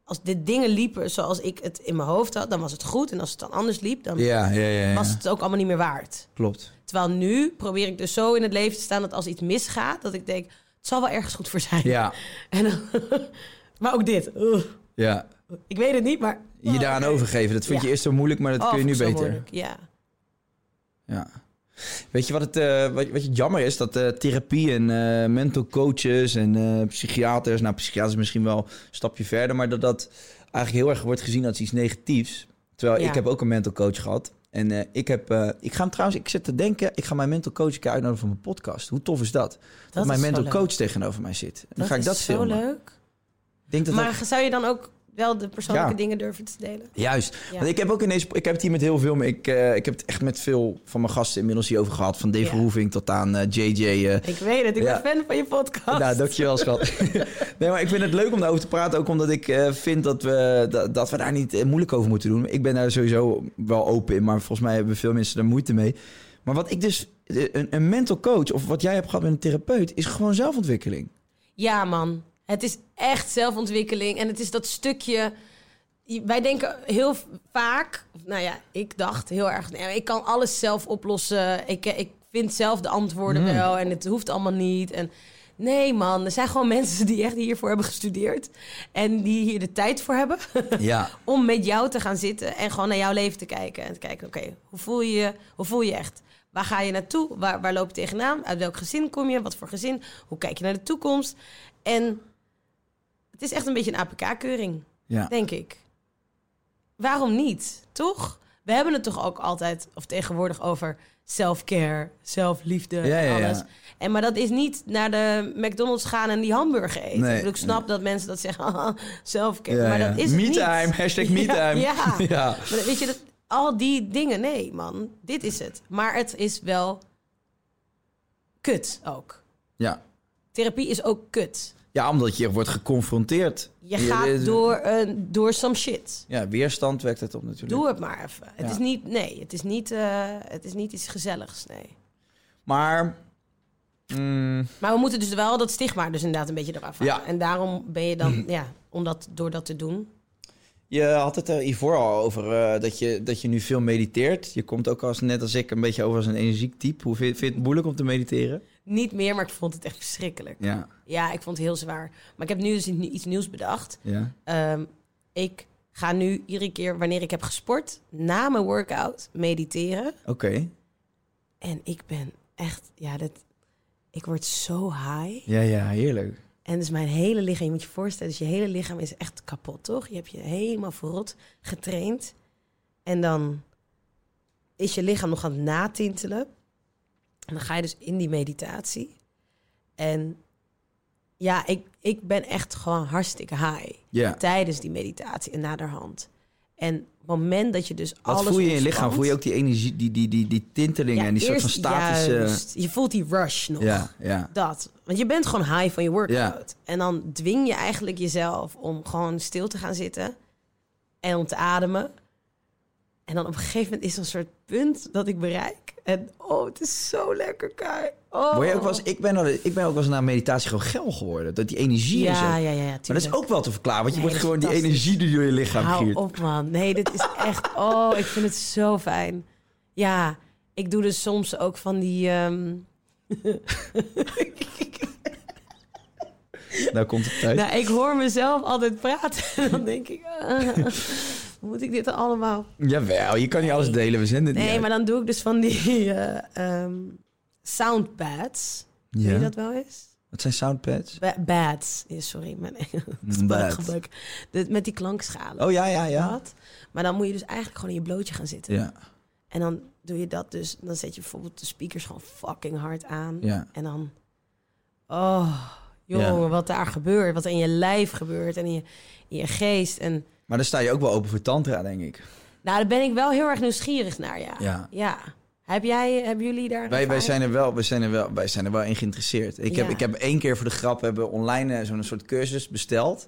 als de dingen liepen zoals ik het in mijn hoofd had, dan was het goed. En als het dan anders liep, dan Ja, ja, ja. was het ook allemaal niet meer waard. Klopt. Terwijl nu probeer ik dus zo in het leven te staan dat als iets misgaat, dat ik denk, het zal wel ergens goed voor zijn. Ja, En dan- maar ook dit. Ugh. ja. ik weet het niet, maar. Je daaraan overgeven, dat vind je Oh, Ja. eerst zo moeilijk, maar dat Oh, kun je nu vond ik zo beter. moeilijk, Ja. Ja. Weet je wat het, eh, wat, wat het jammer is? Dat eh, therapie en eh, mental coaches en eh, psychiaters... Nou, psychiaters misschien wel een stapje verder... maar dat dat eigenlijk heel erg wordt gezien als iets negatiefs. Terwijl Ja. ik heb ook een mental coach gehad. En eh, ik heb... eh, ik ga hem trouwens... Ik zit te denken, ik ga mijn mental coach een keer uitnodigen voor mijn podcast. Hoe tof is dat? Dat, is mijn zo mental leuk. coach tegenover mij zit. En dan ga ik is dat zo filmen. leuk. Ik denk dat dat- Maar zou je dan ook wel de persoonlijke Ja. dingen durven te delen? Juist. Ja. Want ik heb ook in deze. Ik heb het hier met heel veel. Maar ik, eh, ik heb het echt met veel van mijn gasten inmiddels hierover gehad. Van Dave Ja. Verhoeving tot aan eh, JJ. eh, Ik weet het, ik Ja. ben fan van je podcast. nou, dankjewel, schat. nee, maar ik vind het leuk om daarover te praten. Ook omdat ik eh, vind dat we, dat, dat we daar niet eh, moeilijk over moeten doen. Ik ben daar sowieso wel open in. Maar volgens mij hebben veel mensen daar moeite mee. Maar wat ik dus. eh, Een, een mental coach of wat jij hebt gehad met een therapeut. is gewoon zelfontwikkeling. Ja, man. Het is echt zelfontwikkeling. En het is dat stukje. je- Wij denken heel v- vaak, of nou ja, ik dacht heel erg, nee, ik kan alles zelf oplossen. Ik, eh, ik vind zelf de antwoorden wel en het hoeft allemaal niet. En nee, man, er zijn gewoon mensen die echt hiervoor hebben gestudeerd en die hier de tijd voor hebben. Ja. om met jou te gaan zitten en gewoon naar jouw leven te kijken. En te kijken, oké, hoe voel je je? Hoe voel je je echt? Waar ga je naartoe? Waar, waar loop je tegenaan? Uit welk gezin kom je? Wat voor gezin? Hoe kijk je naar de toekomst? En het is echt een beetje een APK-keuring, Ja. denk ik. Waarom niet? Toch? we hebben het toch ook altijd, of tegenwoordig, over self-care, zelfliefde Ja, en ja, ja. alles. En, maar dat is niet naar de McDonald's gaan en die hamburger eten. Nee. ik, bedoel, ik snap dat mensen dat zeggen, haha, self-care. Ja, maar ja. dat is het Me niet. time, hashtag me Ja, time. Ja. Ja. Maar dat- weet je, dat, al die dingen, nee man, dit is het. Maar het is wel kut ook. Ja. Therapie is ook kut. ja, omdat je wordt geconfronteerd. Je gaat door, een door some shit. Ja, weerstand wekt het op natuurlijk. Doe het maar even. Het Ja. is niet, nee, het is niet, eh, het is niet iets gezelligs, nee. Maar... mm, Maar we moeten dus wel dat stigma dus inderdaad een beetje eraf halen. Ja. Mm-hmm. En daarom ben je dan, ja, om dat, door dat te doen. Je had het er hiervoor al over eh, dat, je, dat je nu veel mediteert. Je komt ook als, net als ik een beetje over als een energiek type. Hoe vind, vind je het moeilijk om te mediteren? Niet meer, maar ik vond het echt verschrikkelijk. Ja. Ja, ik vond het heel zwaar. Maar ik heb nu dus iets nieuws bedacht. ja. Ehm, ik ga nu iedere keer wanneer ik heb gesport, na mijn workout, mediteren. Oké. En ik ben echt, ja, dat, ik word zo high. Ja, ja, heerlijk. En dus mijn hele lichaam, je moet je voorstellen, dus je hele lichaam is echt kapot, toch? Je hebt je helemaal verrot getraind. En dan is je lichaam nog aan het natintelen. En dan ga je dus in die meditatie. En ja, ik, ik ben echt gewoon hartstikke high Ja. tijdens die meditatie en naderhand. En op het moment dat je dus alles Wat voel je in je lichaam? ontspant- Voel je ook die energie, die, die, die, die tintelingen Ja, en die soort van eerst statische... juist. Je voelt die rush nog. Ja, ja. Dat. Want je bent gewoon high van je workout. Ja. En dan dwing je eigenlijk jezelf om gewoon stil te gaan zitten. En om te ademen. En dan op een gegeven moment is er een soort punt dat ik bereik. En oh, het is zo lekker, Kai. Oh. Word je ook wel eens- ik, ben al, ik ben ook wel eens na meditatie gewoon geil geworden. Dat die energie Ja, is. ja, ja, ja, Maar dat is tuurlijk. ook wel te verklaren, want je Nee, wordt dat gewoon is die fantastisch. energie die door je lichaam Hou giert. op, man. Nee, dit is echt... Oh, ik vind het zo fijn. Ja, ik doe dus soms ook van die... ehm, Nou komt het tijd. Nou, ik hoor mezelf altijd praten. En dan denk ik, ah, moet ik dit allemaal? Jawel, je kan niet alles delen, we zenden het Nee, niet maar uit. dan doe ik dus van die eh ehm soundpads. Weet Ja. je dat wel eens? Wat zijn soundpads? Ba- Bads. Ja, sorry, mijn Bad. gebruik. Met die klankschalen. Oh ja, ja, ja. Dat. Maar dan moet je dus eigenlijk gewoon in je blootje gaan zitten. Ja, En dan doe je dat dus. Dan zet je bijvoorbeeld de speakers gewoon fucking hard aan. Ja. En dan... Oh, jongen, Ja. wat daar gebeurt. Wat in je lijf gebeurt. En in je, in je geest. En... maar dan sta je ook wel open voor tantra, denk ik. Nou, daar ben ik wel heel erg nieuwsgierig naar, ja. Ja. Heb jij, hebben jullie daar... Wij, wij, ervaring? zijn er wel, wij, zijn er wel, wij zijn er wel in geïnteresseerd. Ik, heb, Ja. ik heb één keer voor de grap hebben we online eh, zo'n soort cursus besteld.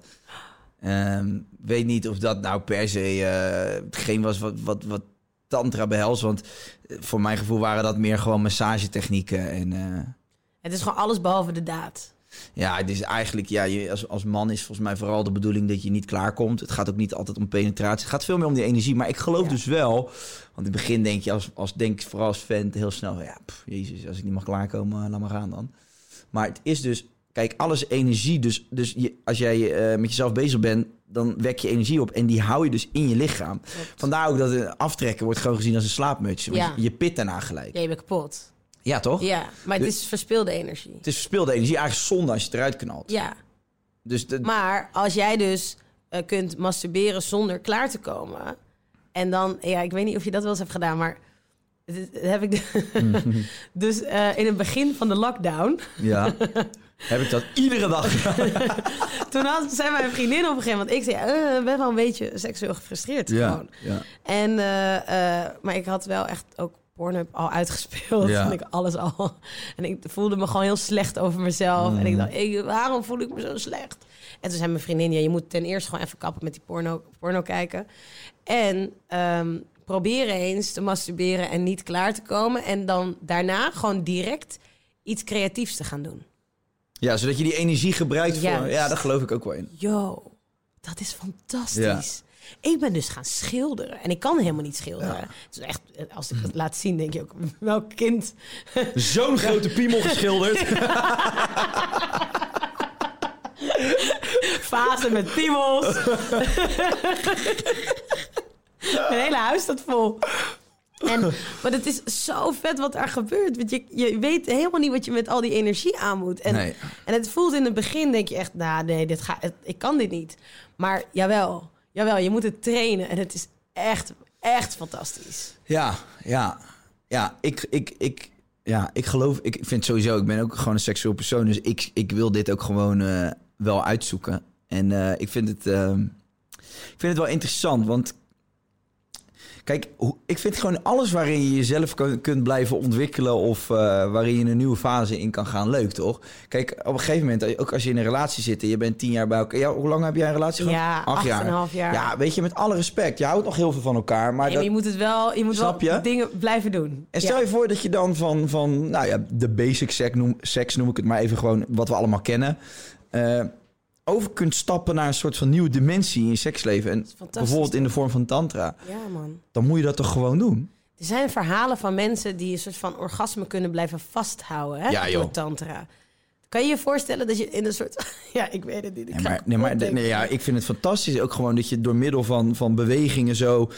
Ehm, weet niet of dat nou per se eh hetgeen was wat, wat, wat tantra behelst. Want eh, voor mijn gevoel waren dat meer gewoon massagetechnieken. En eh, Het is gewoon alles behalve de daad. ja, het is eigenlijk, ja, je, als, als man is volgens mij vooral de bedoeling dat je niet klaarkomt. Het gaat ook niet altijd om penetratie. Het gaat veel meer om die energie. Maar ik geloof dus wel, want in het begin denk je als, als denk ik vooral als fan heel snel, ja, pff, jezus, als ik niet mag klaarkomen, eh, laat maar gaan dan. Maar het is dus, kijk, alles energie. Dus, dus je, als jij eh, met jezelf bezig bent, dan wek je energie op. En die hou je dus in je lichaam. Vandaar ook dat een aftrekken wordt gewoon gezien als een slaapmuts. Want Ja. je, je pit daarna gelijk. Ja, je bent kapot. Ja, toch? Ja, maar het is verspilde energie. Het is verspilde energie. Eigenlijk zonde als je het eruit knalt. Ja, Dus de, maar als jij dus eh, kunt masturberen zonder klaar te komen... en dan... Ja, ik weet niet of je dat wel eens hebt gedaan, maar... het is- dat heb ik de- dus eh, in het begin van de lockdown... Ja. Heb ik dat iedere dag gedaan? toen had, zei mijn vriendin op een gegeven moment... ik zei, eh, ik ben wel een beetje seksueel gefrustreerd gewoon. ja. En, eh, eh, maar ik had wel echt ook Pornhub al uitgespeeld. Ja. En ik alles al. En ik voelde me gewoon heel slecht over mezelf. En ik dacht, ik- waarom voel ik me zo slecht? En toen zei mijn vriendin, ja, je moet ten eerste gewoon even kappen met die porno, porno kijken. En ehm, proberen eens te masturberen en niet klaar te komen. En dan daarna gewoon direct iets creatiefs te gaan doen. Ja, zodat je die energie gebruikt voor... Juist. Ja, daar geloof ik ook wel in. Yo, dat is fantastisch. Ik ben dus gaan schilderen. En ik kan helemaal niet schilderen. Het is echt, eh, als ik dat laat zien, denk je ook, welk kind. Zo'n grote piemel geschilderd. Fase met piemels. Mijn hele huis staat vol. En, maar het is zo vet wat daar gebeurt. Want je, je weet helemaal niet wat je met al die energie aan moet. En, Nee. en het voelt in het begin, denk je echt, nou nee, dit ga, het- ik kan dit niet. Maar jawel, jawel, je moet het trainen. En het is echt, Echt fantastisch. Ja, ja, ja. Ik, ik, ik, ja, ik geloof, ik vind sowieso, ik ben ook gewoon een seksueel persoon. Dus ik, ik wil dit ook gewoon eh, wel uitzoeken. En eh, ik, vind het, ehm, ik vind het wel interessant, want kijk, hoe- ik vind gewoon alles waarin je jezelf kun- kunt blijven ontwikkelen of eh, waarin je een nieuwe fase in kan gaan, leuk toch? Kijk, op een gegeven moment, ook als je in een relatie zit en je bent tien jaar bij elkaar. Ja, hoe lang heb jij een relatie gehad? Ja, acht en een half jaar. Ja, weet je, met alle respect, je houdt nog heel veel van elkaar. Maar En dat... je moet het wel, je moet Snap wel je? dingen blijven doen. En stel Ja. je voor dat je dan van, van nou ja, de basic seks noem, seks noem ik het maar even gewoon, wat we allemaal kennen, eh, over kunt stappen naar een soort van nieuwe dimensie in je seksleven. En fantastisch, bijvoorbeeld in de vorm van tantra. ja, man. Dan moet je dat toch gewoon doen? Er zijn verhalen van mensen die een soort van orgasme kunnen blijven vasthouden hè, Ja, joh. door tantra. Kan je je voorstellen dat je in een soort... ja, ik weet het niet. Ik Nee, ga maar, nee, maar opdenken. nee, ja, ik vind het fantastisch. Ook gewoon dat je door middel van, van bewegingen zo,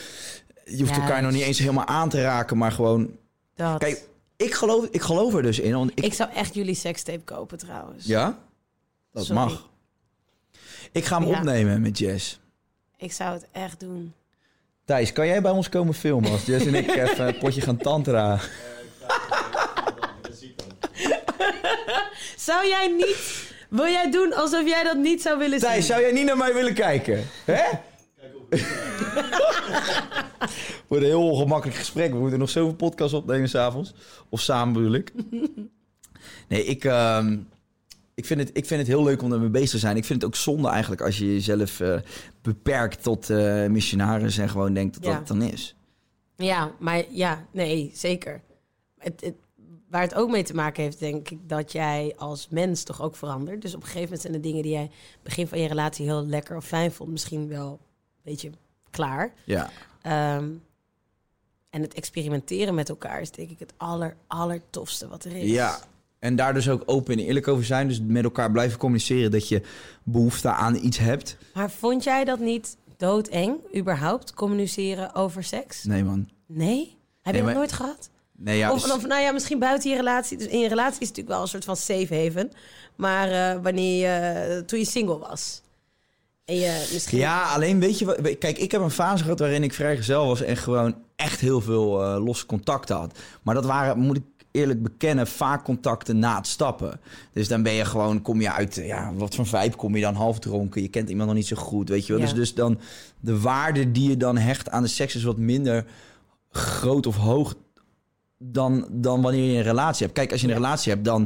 je hoeft Ja, elkaar nog niet eens helemaal aan te raken, maar gewoon... Dat. Kijk, ik geloof, ik geloof er dus in. Want ik... zou echt jullie sekstape kopen trouwens. ja, dat Sorry. mag. Ik ga hem Ja. opnemen met Jess. Ik zou het echt doen. Thijs, kan jij bij ons komen filmen als Jess en ik even een potje gaan tantra? Zou jij niet... Wil jij doen alsof jij dat niet zou willen Thijs, zien? zou jij niet naar mij willen kijken? Hè? Wordt een heel ongemakkelijk gesprek. We moeten nog zoveel podcasts opnemen s'avonds. Of samen bedoel ik. Nee, ik, ehm, ik, vind het, ik vind het heel leuk om ermee bezig te zijn. Ik vind het ook zonde eigenlijk als je jezelf eh, beperkt tot eh, missionaris... en gewoon denkt dat Ja. dat het dan is. Ja, maar ja, nee, zeker. Het, het, waar het ook mee te maken heeft, denk ik, dat jij als mens toch ook verandert. Dus op een gegeven moment zijn de dingen die jij begin van je relatie heel lekker of fijn vond, misschien wel een beetje klaar. Ja. Ehm, en het experimenteren met elkaar is denk ik het aller, aller tofste wat er is. Ja, en daar dus ook open en eerlijk over zijn. Dus met elkaar blijven communiceren dat je behoefte aan iets hebt. Maar vond jij dat niet doodeng, überhaupt, communiceren over seks? Nee, man. Nee? Heb Nee, je dat maar- nooit gehad? Nee, ja, Of, of nou ja, misschien buiten je relatie. Dus in je relatie is het natuurlijk wel een soort van safe haven. Maar eh, wanneer je, toen je single was. En je misschien... ja, alleen weet je wat... we- Kijk, ik heb een fase gehad waarin ik vrijgezel was... en gewoon echt heel veel eh, losse contacten had. Maar dat waren, moet ik eerlijk bekennen, vaak contacten na het stappen. Dus dan ben je gewoon, kom je uit... eh, Ja, wat voor vijf kom je dan half dronken? Je kent iemand nog niet zo goed, weet je wel. Ja. Dus, dus dan de waarde die je dan hecht aan de seks... is wat minder groot of hoog dan, dan wanneer je een relatie hebt. Kijk, als je een relatie hebt, dan,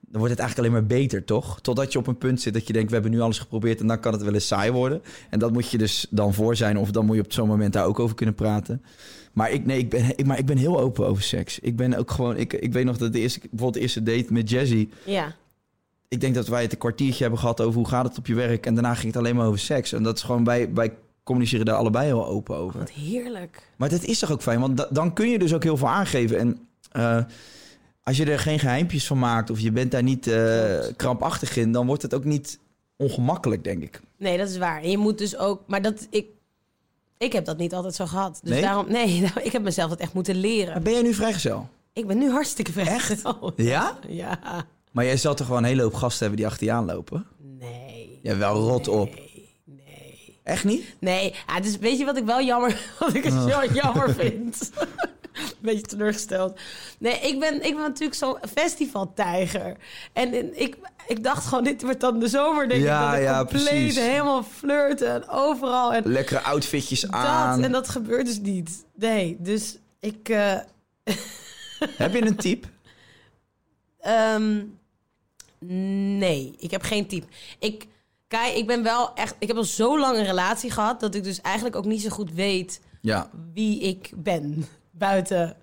dan wordt het eigenlijk alleen maar beter, toch? Totdat je op een punt zit dat je denkt, we hebben nu alles geprobeerd en dan kan het wel eens saai worden. En dat moet je dus dan voor zijn of dan moet je op zo'n moment daar ook over kunnen praten. Maar ik, nee, ik, ben, ik, maar ik ben heel open over seks. Ik ben ook gewoon, ik, ik weet nog dat de eerste, bijvoorbeeld de eerste date met Jazzy. Ja. Ik denk dat wij het een kwartiertje hebben gehad over hoe gaat het op je werk. En daarna ging het alleen maar over seks. En dat is gewoon, wij, wij communiceren daar allebei heel open over. Wat heerlijk. Maar dat is toch ook fijn? Want da- dan kun je dus ook heel veel aangeven. En eh, als je er geen geheimpjes van maakt of je bent daar niet eh, krampachtig in, dan wordt het ook niet ongemakkelijk, denk ik. Nee, dat is waar. En je moet dus ook... Maar dat... Ik, ik heb dat niet altijd zo gehad. Dus Nee? daarom... Nee, nou, ik heb mezelf dat echt moeten leren. Maar ben jij nu vrijgezel? Ik ben nu hartstikke vrijgezel. Ja? Ja. Maar jij zal toch gewoon een hele hoop gasten hebben die achter je aanlopen? Nee. Ja, wel rot op. Nee. Echt niet? Nee, ah, dus weet je wat ik wel jammer, wat ik Oh. het zo jammer vind? Beetje teleurgesteld. Nee, ik ben, ik ben natuurlijk zo'n festivaltijger. En, en ik, ik dacht gewoon, dit wordt dan de zomer, denk Ja, ik. Dat ik ja, compleet precies. helemaal flirten en overal. En Lekkere outfitjes dat, aan. en dat gebeurt dus niet. Nee, dus ik... eh, Heb je een type? Ehm, nee, ik heb geen type. Ik, kijk, ik ben wel echt... Ik heb al zo lang een relatie gehad... dat ik dus eigenlijk ook niet zo goed weet Ja. wie ik ben. Buiten...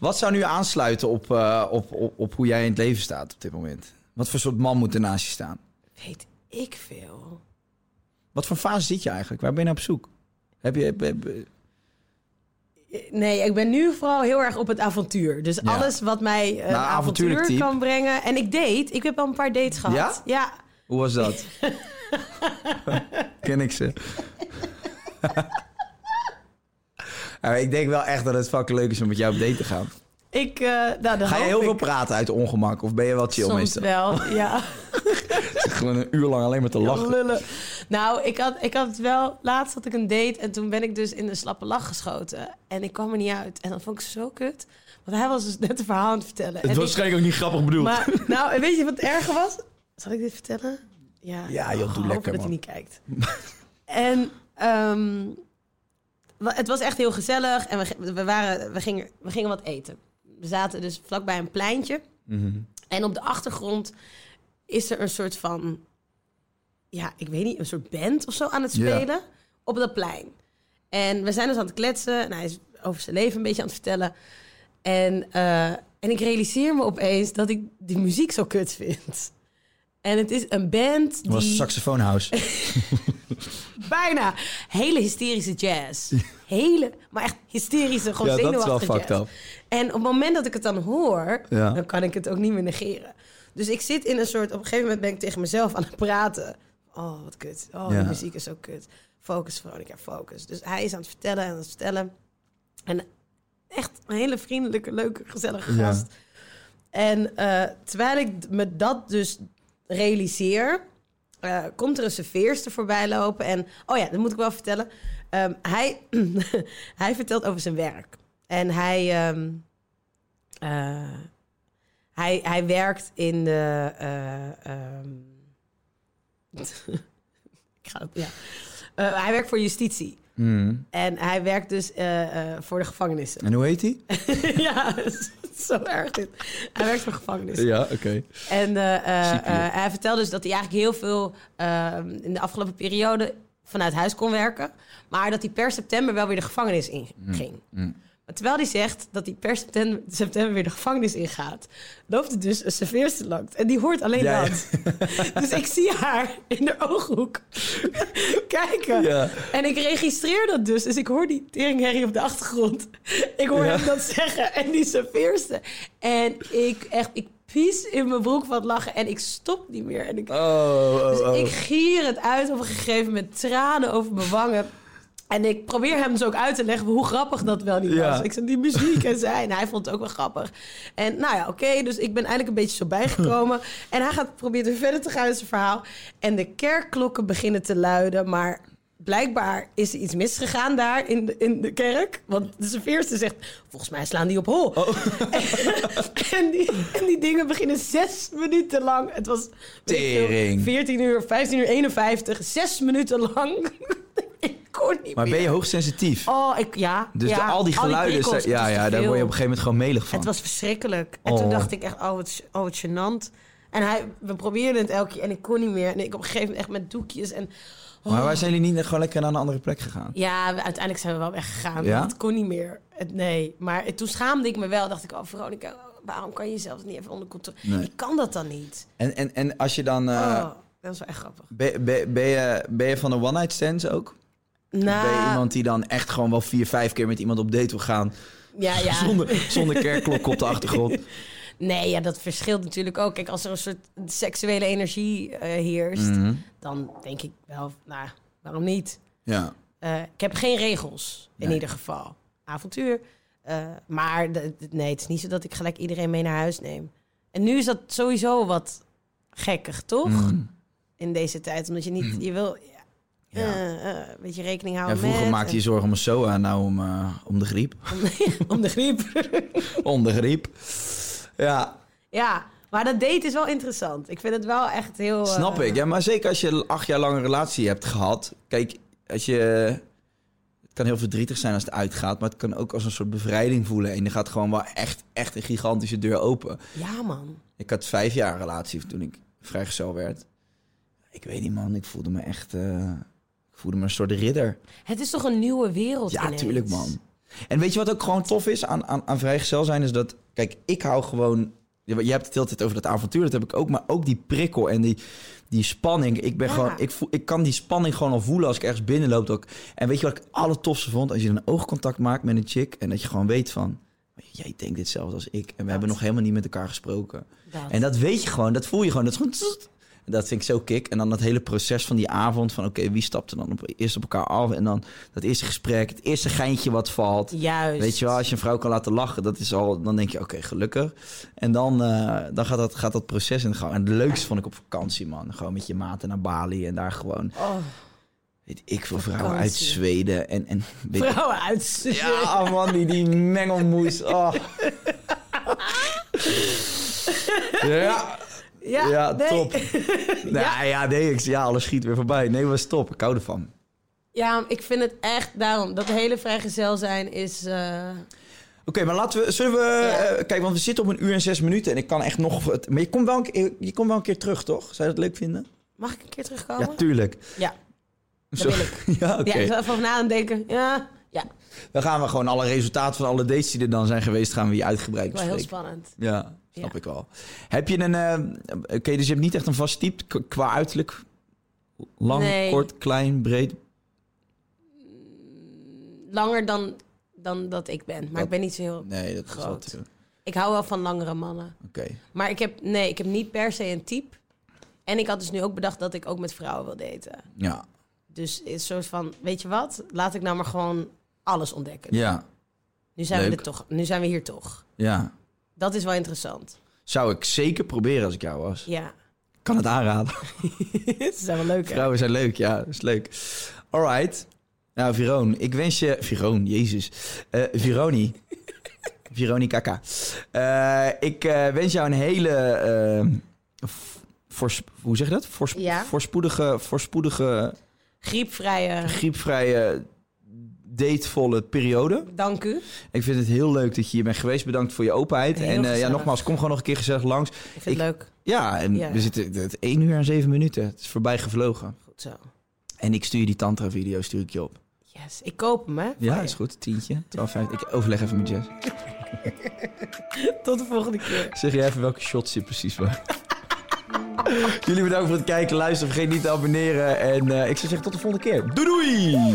Wat zou nu aansluiten op, eh, op, op, op hoe jij in het leven staat op dit moment? Wat voor soort man moet er naast je staan? Weet ik veel. Wat voor fase zit je eigenlijk? Waar ben je naar op zoek? Heb je, heb- heb- Nee, ik ben nu vooral heel erg op het avontuur. Dus Ja. alles wat mij eh, een Nou, avontuurlijk avontuur type. kan brengen. En ik date. Ik heb al een paar dates gehad. Ja? Hoe was dat? Ken ik ze. Ja, maar Nou, ik denk wel echt dat het fucking leuk is om met jou op date te gaan. Ik, eh, nou, dan Ga je hoop heel veel ik. praten uit ongemak? Of ben je wel chill Soms meestal? wel, ja. Gewoon een uur lang alleen maar te lachen. Lullen. Nou, ik had, ik had wel... Laatst had ik een date en toen ben ik dus in een slappe lach geschoten. En ik kwam er niet uit. En dat vond ik zo kut. Want hij was dus net een verhaal aan het vertellen. en Het was ik- waarschijnlijk ook niet grappig bedoeld. maar, nou, en weet je wat het erger was? Zal ik dit vertellen? Ja, Ja, joh, doe ik hoop lekker, dat hij man. niet kijkt. en ehm, wa- het was echt heel gezellig. En we, g- we, waren, we, gingen, we gingen wat eten. We zaten dus vlakbij een pleintje. Mhm. En op de achtergrond is er een soort van... Ja, ik weet niet, een soort band of zo aan het Ja. spelen op dat plein. En we zijn dus aan het kletsen. En hij is over zijn leven een beetje aan het vertellen. En, eh, en ik realiseer me opeens dat ik die muziek zo kut vind. En het is een band die... Het was saxofoonhouse. Bijna. Hele hysterische jazz. Hele, maar echt hysterische, gewoon Ja, dat is wel zenuwachtige fucked jazz. up. En op het moment dat ik het dan hoor, Ja. dan kan ik het ook niet meer negeren. Dus ik zit in een soort, op een gegeven moment ben ik tegen mezelf aan het praten. Oh, wat kut. Oh, Ja. de muziek is zo kut. Focus, Veronica, focus. Dus hij is aan het vertellen en aan het vertellen. En echt een hele vriendelijke, leuke, gezellige Ja. gast. En eh, terwijl ik d- me dat dus realiseer, eh, komt er een serveerster voorbij lopen. En, oh ja, dat moet ik wel vertellen. Ehm, hij, hij vertelt over zijn werk. En hij, ehm, eh, hij, hij werkt in de... eh, ehm, ik ga het, ja. Eh, hij werkt voor justitie. En hij werkt dus eh, eh, voor de gevangenissen. En hoe heet hij? ja, het is zo erg dit. Hij werkt voor gevangenissen. Ja, oké. En eh, eh, Ziek, joh. eh, hij vertelde dus dat hij eigenlijk heel veel eh, in de afgelopen periode vanuit huis kon werken. Maar dat hij per september wel weer de gevangenis in Mm. ging. Maar terwijl hij zegt dat hij per september, september weer de gevangenis ingaat, loopt er dus een serveerster langs. En die hoort alleen Ja, ja. dat. Dus ik zie haar in de ooghoek kijken. Ja. En ik registreer dat dus. Dus ik hoor die teringherrie op de achtergrond. Ik hoor Ja. hem dat zeggen. En die serveerste. En ik echt... Ik pies in mijn broek van het lachen. En ik stop niet meer. En ik, Oh, dus ik gier het uit op een gegeven moment. Tranen over mijn wangen. En ik probeer hem dus ook uit te leggen hoe grappig dat wel niet Ja. was. Ik zei, die muziek en zijn. Hij vond het ook wel grappig. En nou ja, oké. dus ik ben eindelijk een beetje zo bijgekomen. en hij gaat proberen verder te gaan in zijn verhaal. En de kerkklokken beginnen te luiden. Maar blijkbaar is er iets misgegaan daar in de, in de kerk. Want de serveerster zegt, volgens mij slaan die op hol. Oh. en, die, en die dingen beginnen zes minuten lang. Het was weet ik veel, Tering. 14 uur, 15 uur 51. Zes minuten lang. ik kon niet Maar meer. ben je hoogsensitief? Oh, ik, ja. Dus ja, de- al die geluiden, prikkels, ja, het is ja, te daar word je veel. op een gegeven moment gewoon melig van. Het was verschrikkelijk. En toen Oh. dacht ik echt, oh wat, oh, wat gênant. En hij, we probeerden het elke keer en ik kon niet meer. En ik op een gegeven moment echt met doekjes en... oh. Maar waar zijn jullie niet gewoon lekker naar een andere plek gegaan? Ja, we- uiteindelijk zijn we wel weggegaan. Ja? Het kon niet meer. Het, nee. Maar het- toen schaamde ik me wel. Dacht ik, oh Veronica, waarom kan je jezelf niet even onder controle... Nee. Ik kan dat dan niet. En, en, en als je dan... eh, Oh, dat is wel echt grappig. ben, ben, ben je, ben je van de one-night stands ook? Nou, Ben je iemand die dan echt gewoon wel vier, vijf keer met iemand op date wil gaan... ja, ja. zonder, zonder kerkklok op de achtergrond? Nee, ja, dat verschilt natuurlijk ook. Kijk, als er een soort seksuele energie eh, heerst, Mhm. dan denk ik wel, nou, waarom niet? Ja. Eh, ik heb geen regels, in Nee. ieder geval. Avontuur. Eh, maar de- de- nee, het is niet zo dat ik gelijk iedereen mee naar huis neem. En nu is dat sowieso wat gekkig, toch? Mhm. In deze tijd, omdat je niet, je wil ja, Ja. eh, eh, een beetje rekening Ja, houden vroeger met... maakte je zorgen om een SOA, nou om, eh, om de griep. om de griep. om de griep. Ja, ja, maar dat date is wel interessant. Ik vind het wel echt heel... eh, snap ik. Ja, maar zeker als je acht jaar lang een relatie hebt gehad. Kijk, als je... Het kan heel verdrietig zijn als het uitgaat, maar het kan ook als een soort bevrijding voelen. En je gaat gewoon wel echt, echt een gigantische deur open. Ja, man. Ik had vijf jaar een relatie toen ik vrijgezel werd. Ik weet niet, man. Ik voelde me echt... eh, ik voelde me een soort ridder. Het is toch een nieuwe wereld Ja, ineens? tuurlijk, man. En weet je wat ook gewoon tof is aan, aan, aan vrijgezel zijn? Is dat, kijk, ik hou gewoon... Je je hebt het de hele tijd over dat avontuur, dat heb ik ook. Maar ook die prikkel en die, die spanning. Ik, ben Ja. gewoon, ik, voel, ik kan die spanning gewoon al voelen als ik ergens binnenloop. Ook. En weet je wat ik alle tofste vond? Als je een oogcontact maakt met een chick en dat je gewoon weet van... Jij denkt hetzelfde als ik. En we hebben nog helemaal niet met elkaar gesproken. Dat. En dat weet je gewoon, dat voel je gewoon. Dat is gewoon... tssst. Dat vind ik zo kick. En dan dat hele proces van die avond van oké, wie stapt er dan op, eerst op elkaar af? En dan dat eerste gesprek, het eerste geintje wat valt. Juist. Weet je wel, als je een vrouw kan laten lachen, dat is al, dan denk je, oké, gelukkig. En dan, eh, dan gaat, dat, gaat dat proces in gang. En het leukste vond ik op vakantie, man. Gewoon met je maten naar Bali en daar gewoon, Oh, weet ik veel, vrouwen uit Vakantie. Zweden. En, en weet ik- vrouwen uit. ja, man, die, die mengelmoes. Oh. Ja, Ja, ja nee. top. Nou ja, nee, ik, ja, alles schiet weer voorbij. Nee, was top. Ik hou ervan. Ja, ik vind het echt daarom. Dat hele vrijgezel zijn is... eh, Oké, maar laten we. Zullen we. eh, kijk, want we zitten op een uur en zes minuten. En ik kan echt nog. het- Maar je komt wel een, keer- je komt wel een keer terug, toch? Zou je dat leuk vinden? Mag ik een keer terugkomen? Ja, tuurlijk. Ja, Zo- Oh. wil ik. ja, oké. ja ik zal even over na aan het denken. Ja, ja. Dan gaan we gewoon alle resultaten van alle dates die er dan zijn geweest. gaan we hier uitgebreid Wel heel bespreken. spannend. Ja, snap Ja. ik wel. Heb je een. eh, Oké, dus je hebt niet echt een vast type k- qua uiterlijk? Lang, Nee. kort, klein, breed. Langer dan, dan dat ik ben. Maar Dat- ik ben niet zo heel... Nee, dat is wel Groot. te- Oké. Ik hou wel van langere mannen. Maar ik heb, nee, ik heb niet per se een type. En ik had dus nu ook bedacht dat ik ook met vrouwen wil daten. Ja. Dus het is een soort van, weet je wat? Laat ik nou maar gewoon alles ontdekken. Ja. Nu, zijn we leuk. er toch, nu zijn we hier toch. Ja. Dat is wel interessant. Zou ik zeker proberen als ik jou was. Ja, Kan het aanraden. het is wel leuk. hè? Vrouwen zijn leuk, ja, is leuk. Alright. Nou, Veroon, ik wens je... Veroon, jezus. Eh Veroni. Veronica K. Eh, ik eh, wens jou een hele... eh, v- voors- hoe zeg je dat? Voors- Ja. Voorspoedige, voorspoedige, Griepvrije, griepvrije, datevolle periode. dank u. Ik vind het heel leuk dat je hier bent geweest. Bedankt voor je openheid. Heel en eh, ja, gezellig. nogmaals, kom gewoon nog een keer gezellig langs. Ik vind het leuk. Ja, en Ja. we zitten... Het 1 uur en 7 minuten. Het is voorbij gevlogen. Goed zo. En ik stuur je die tantra-video stuur ik je op. Yes, ik koop hem, hè? Ja, is goed. Tientje. 12,50. Ik overleg even met Jess. Tot de volgende keer. Zeg jij even welke shots je precies maakt. Jullie bedankt voor het kijken, luisteren. Vergeet niet te abonneren. En eh, ik zou zeggen tot de volgende keer. Doei doei!